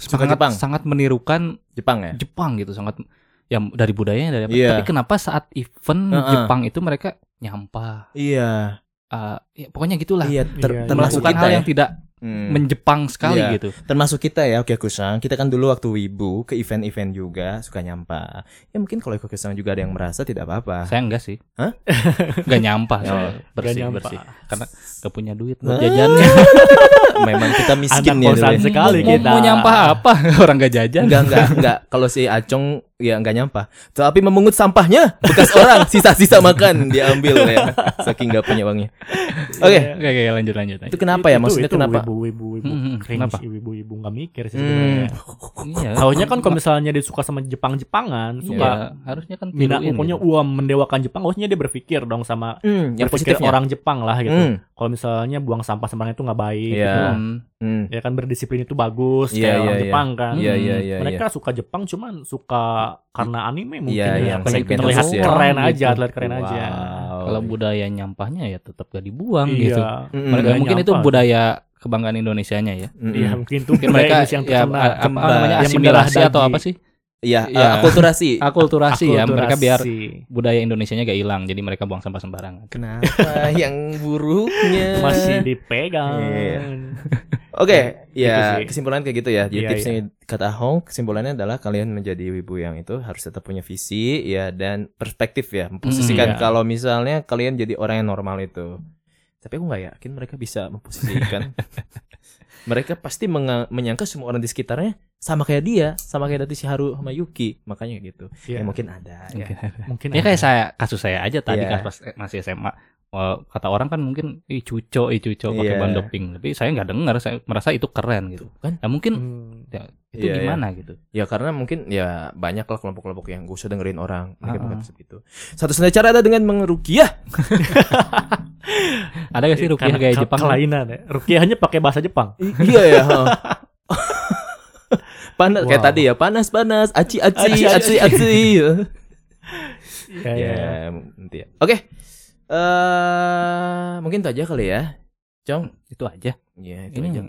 S2: Suka
S1: sangat
S2: Jepang.
S1: sangat menirukan
S2: Jepang ya.
S1: Jepang gitu, sangat ya dari budayanya dari apa.
S2: Iya.
S1: Tapi kenapa saat event
S2: Heeh.
S1: Jepang itu mereka nyampah,
S2: Iya.
S1: eh, ya pokoknya gitulah
S2: Iya. ter-
S3: Iya, iya.
S2: termasuk
S1: melakukan
S2: kita
S1: hal
S2: ya.
S1: yang tidak
S2: Hmm.
S1: menjepang sekali
S2: Iya.
S1: gitu.
S2: termasuk kita ya Oke Kusang kita kan dulu waktu Wibu ke event-event juga suka nyampa ya mungkin kalau Oke Kusang juga ada yang merasa tidak apa-apa
S1: Saya enggak sih.
S2: Hah? Oh.
S1: Gak nyampah saya.
S3: Nggak
S1: Bersih,
S3: nyampa.
S1: bersih. Karena gak punya duit buat
S2: Ah,
S1: jajannya.
S2: memang kita miskin
S3: Anak
S2: ya
S3: kosan
S2: dulu.
S3: sekali
S1: Iya, mau,
S3: kita.
S1: mau nyampah apa? Orang gak jajan.
S2: enggak enggak enggak kalau si Acong ya enggak nyampa tapi memungut sampahnya bekas orang sisa-sisa makan diambil ya saking enggak punya uangnya oke
S3: Iya.
S1: Oke, oke, lanjut lanjut.
S2: itu
S1: lanjut.
S2: kenapa ya maksudnya kenapa
S3: Ibu-ibu ibu
S1: Hmm,
S3: cringe,
S1: kenapa?
S3: ibu-ibu nggak mikir sih
S2: Hmm.
S3: sebenarnya.
S1: Iya.
S3: Taunya kan kalau misalnya dia suka sama Jepang-Jepangan,
S1: Iya,
S3: suka
S1: harusnya kan
S3: minat
S1: tiruin
S3: pokoknya
S1: gitu.
S3: uam mendewakan Jepang, harusnya dia berpikir dong sama
S2: Hmm, yang
S3: berpikir
S2: positifnya
S3: orang Jepang lah gitu.
S2: Hmm,
S3: Kalau misalnya buang sampah sembarangan itu nggak baik,
S2: Iya.
S3: gitu.
S1: Hmm.
S2: hmm.
S3: ya kan berdisiplin itu bagus
S2: Iya,
S3: kayak
S2: iya,
S3: orang
S2: iya.
S3: Jepang kan.
S2: Iya iya iya.
S3: Mereka suka Jepang cuman suka karena anime mungkin
S2: Iya,
S3: ya,
S2: yang
S3: pengen
S2: segmen
S3: terlihat
S2: khusus ya.
S3: keren
S1: Gitu.
S3: aja, terlihat keren aja.
S1: Kalau budaya nyampahnya ya tetap gak dibuang gitu.
S3: Iya.
S2: Hmm,
S1: Mereka
S3: Budaya
S1: mungkin itu
S3: nyampah.
S1: budaya kebanggaan Indonesianya ya.
S3: Iya,
S2: Hmm.
S3: mungkin itu
S1: Mungkin mereka
S3: Indonesia yang
S1: ya,
S3: tercemar.
S1: a- apa
S2: Kembang.
S1: namanya
S3: Yang mendarah
S1: asimilasi atau
S3: daging.
S1: apa sih?
S2: Iya,
S1: Iya.
S2: eh, akulturasi.
S1: Akulturasi, ya. Mereka biar
S3: Akulturasi.
S1: budaya Indonesianya gak hilang. Jadi mereka buang sampah sembarangan.
S2: Kenapa yang buruknya?
S3: masih dipegang.
S2: Iya.
S3: Gitu
S2: Oke, ya
S3: sih.
S2: kesimpulan kayak gitu ya. Jadi
S3: Iya,
S2: tipsnya kata Hong, kesimpulannya adalah kalian menjadi wibu yang itu harus tetap punya visi ya dan perspektif ya. Memposisikan
S3: Iya.
S2: kalau misalnya kalian jadi orang yang normal itu. Tapi aku nggak yakin mereka bisa memposisikan. mereka pasti menga- menyangka semua orang di sekitarnya sama kayak dia, sama kayak Dati Shiharu sama Yuki, makanya gitu.
S3: Iya. Hmm.
S2: Ya mungkin ada. Ya.
S1: Mungkin.
S3: Mungkin
S1: Ya kayak saya kasus saya aja tadi
S2: Iya.
S1: kan pas eh, masih SMA Wah, kata orang kan mungkin ih cuco ih cuco
S2: Iya.
S1: pakai ban doping tapi saya nggak dengar saya merasa itu keren gitu
S2: kan?
S1: ya mungkin
S3: Hmm.
S1: itu
S2: Iya, iya.
S1: gimana gitu
S2: Ya karena mungkin ya banyak lah kelompok-kelompok yang gak usah dengerin orang Mereka
S1: Ah,
S2: bakal seperti itu Satu-satunya cara ada dengan mengerukiah
S1: ada gak Iya sih
S2: Iya,
S1: rupiah
S3: Karena
S1: gaya
S3: ke-
S1: Jepang
S3: kelainan ya. Rukiahnya pakai bahasa Jepang.
S2: I- Iya ya ha. Panas kayak
S3: Wow.
S2: tadi ya Panas-panas Aci-aci
S3: Aci, aci,
S2: Aci-aci
S3: Iya,
S2: Ya
S3: iya.
S2: nanti ya Oke eh Mungkin itu aja kali ya Cong
S1: itu aja
S2: Iya itu
S1: ini
S2: aja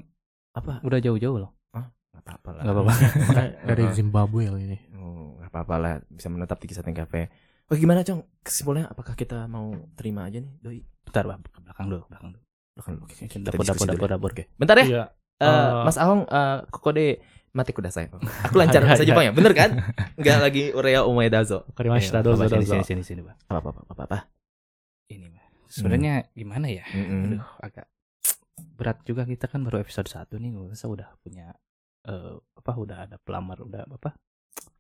S2: Apa?
S1: udah jauh-jauh loh
S2: Gak apa-apa lah
S1: nggak apa-apa
S3: Iya. Dari Zimbabwe loh ini.
S2: Oh, Gak apa-apa lah Bisa menetap di kisah kafe Oke gimana Cong Kesimpulannya apakah kita mau terima aja nih Doi
S1: bentar bang ke belakang dulu ke belakang dulu
S2: Oke, oke, kita
S1: dapur
S2: diskusi
S1: dapur
S2: dulu.
S1: dapur dapur
S2: Bentar ya,
S3: Iya.
S2: Eh,
S3: Eh,
S2: Mas Ahong eh, kode mati kuda saya. Aku lancar
S3: Hai, hai,
S2: bahasa
S3: hai.
S2: Jepang ya, bener kan? Enggak lagi Urea Umaedazo.
S3: Karimashita
S1: Iya,
S3: dozo
S1: apa, sini
S3: dozo.
S1: sini sini sini bang
S2: Apa apa apa apa. apa.
S1: ini Bang.
S2: Hmm.
S1: sebenarnya gimana ya
S2: Mm-mm.
S1: aduh agak berat juga kita kan baru episode 1 nih gue rasa udah punya eh, apa udah ada pelamar udah apa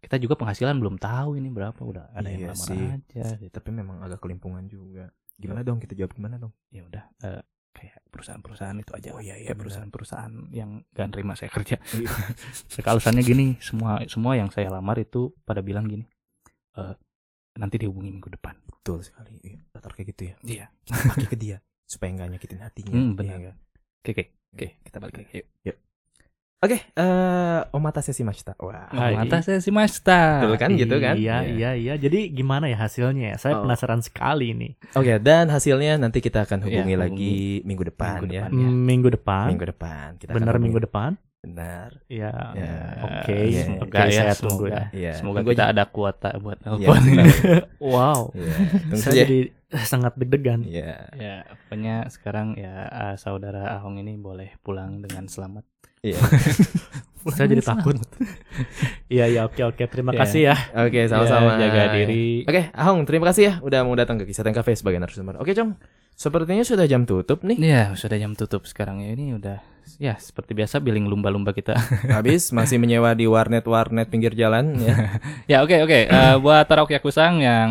S1: kita juga penghasilan belum tahu ini berapa udah ada
S2: Iya
S1: yang pelamar
S2: sih.
S1: aja
S2: Ya, tapi memang agak kelimpungan juga. Gimana dong kita jawab gimana dong?
S1: ya udah eh, kayak perusahaan-perusahaan itu aja
S2: Oh, iya, iya, benar.
S1: kayak perusahaan-perusahaan yang gak nerima saya kerja
S2: Iya.
S1: Mereka alasannya gini semua semua yang saya lamar itu pada bilang gini eh, nanti dihubungi minggu depan
S2: Betul sekali. Iya, Latar kayak gitu ya.
S1: iya
S2: Pakai ke dia supaya nggak nyakitin hatinya. Iya
S1: Hmm, benar.
S2: kan?
S1: oke oke
S2: Oke, kita
S1: kita balik
S2: balik.
S1: lagi yuk
S2: Oke, eh omatase shimashita. Wah.
S3: Hai.
S1: mata saya ya, si Masta
S2: Ah, Betul kan gitu kan?
S3: Iya,
S2: Iya.
S3: iya, iya. Jadi gimana ya hasilnya? ya? Saya
S2: Oh.
S3: penasaran sekali nih.
S2: Oke, dan hasilnya nanti kita akan
S1: Iya,
S2: hubungi
S1: hubungi.
S2: lagi minggu depan
S1: Minggu
S2: ya.
S1: depan. Iya.
S3: Minggu depan.
S2: Minggu depan. Kita akan
S3: Benar
S2: hubungi.
S3: minggu depan?
S2: Benar.
S3: Iya.
S1: Ya,
S2: Iya.
S3: Oke,
S2: Iya,
S3: semoga
S1: Enggak
S3: ya,
S1: ya,
S3: saya
S1: semoga.
S3: tunggu ya.
S2: Iya.
S1: semoga
S2: Tunggu
S1: kita
S2: aja.
S1: ada kuota buat
S2: Iya,
S1: telepon
S2: benar.
S3: Wow.
S2: Iya, Tunggu
S3: Saya
S2: saja.
S3: jadi eh, sangat deg-degan.
S2: Iya.
S1: ya pokoknya sekarang ya eh, saudara Ahong ini boleh pulang dengan selamat
S2: Iya.
S3: Saya jadi takut. Iya, iya, oke, oke. Terima
S1: Iya.
S3: kasih ya.
S2: Oke, sama-sama.
S1: Ya, jaga diri
S2: Oke, Ahong, terima kasih ya udah mau datang ke Kisah Teng Cafe sebagai narasumber. Oke, Cong. Sepertinya sudah jam tutup nih.
S1: ya sudah jam tutup sekarang ya ini udah ya seperti biasa billing lumba-lumba kita
S2: Habis masih menyewa di warnet-warnet pinggir jalan ya.
S1: Ya oke oke Eh, buat para Okiakusang yang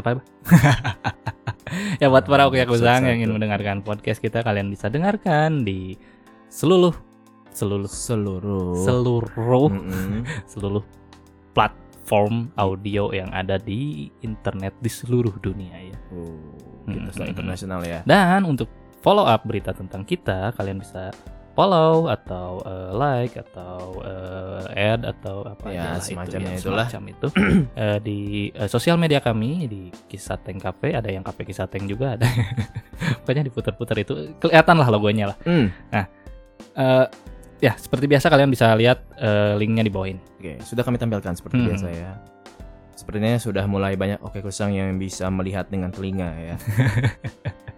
S1: apa apa? ya buat para oke aku
S2: Satu-satu.
S1: yang ingin mendengarkan podcast kita kalian bisa dengarkan di seluruh seluruh
S2: Seluruh.
S1: seluruh
S2: Mm-mm.
S1: seluruh platform audio yang ada di internet di seluruh dunia ya.
S2: Oh, kita sudah
S1: Mm-mm.
S2: internasional ya.
S1: Dan untuk follow up berita tentang kita, kalian bisa follow atau eh, like atau eh, add atau apa
S2: Ya,
S1: aja lah
S2: semacamnya
S1: itu, ya,
S2: itulah.
S1: semacam itu Eh, di eh, sosial media kami di Kisah Teng Cafe ada yang Cafe Kisah Teng juga ada. Pokoknya diputar-putar itu kelihatan lah logonya lah.
S2: Mm.
S1: Eh, ya seperti biasa kalian bisa lihat eh, linknya di bawah ini.
S2: Oke, sudah kami tampilkan seperti
S1: Hmm.
S2: biasa ya. Sepertinya sudah mulai banyak oke kusang yang bisa melihat dengan telinga ya.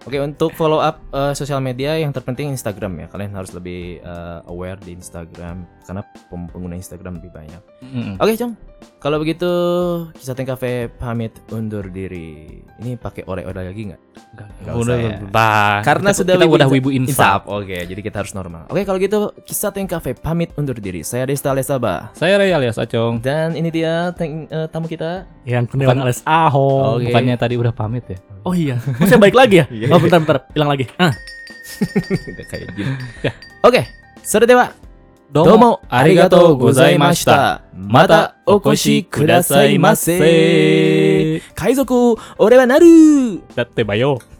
S2: Oke, untuk follow up eh, sosial media yang terpenting Instagram ya. Kalian harus lebih eh, aware di Instagram karena pem- pengguna Instagram lebih banyak.
S1: Mm-mm.
S2: Oke, Cong. Kalau begitu, Kisah Teng Cafe pamit undur diri. Ini pakai oleh-oleh lagi nggak? Nggak usah
S1: Udah,
S2: ya.
S3: Ah,
S1: bah.
S2: Karena
S1: kita,
S2: sudah
S1: kita
S2: wibu
S1: udah
S2: insaf.
S1: wibu insaf.
S2: Insaf. Oke, jadi kita harus normal. Oke, kalau gitu Kisah Teng Cafe pamit undur diri. Saya Desta Lesaba.
S1: Saya Ray alias Acong.
S2: Dan ini dia teng- eh, tamu kita.
S3: Yang kenalan
S1: Bukan-
S3: alias Ahong.
S2: Oke.
S1: Oh, Bukannya tadi udah pamit ya?
S3: Oh iya, saya balik lagi ya?
S2: Iya.
S3: Oh bentar bentar, hilang lagi. Ah,
S2: Udah kayak gini. Oke, sudah Domo arigato
S1: arigato
S2: gozaimashita.
S1: gozaimashita.
S2: Mata okoshi kudasai mase. Kaizoku ore wa naru.
S1: Datte bayo.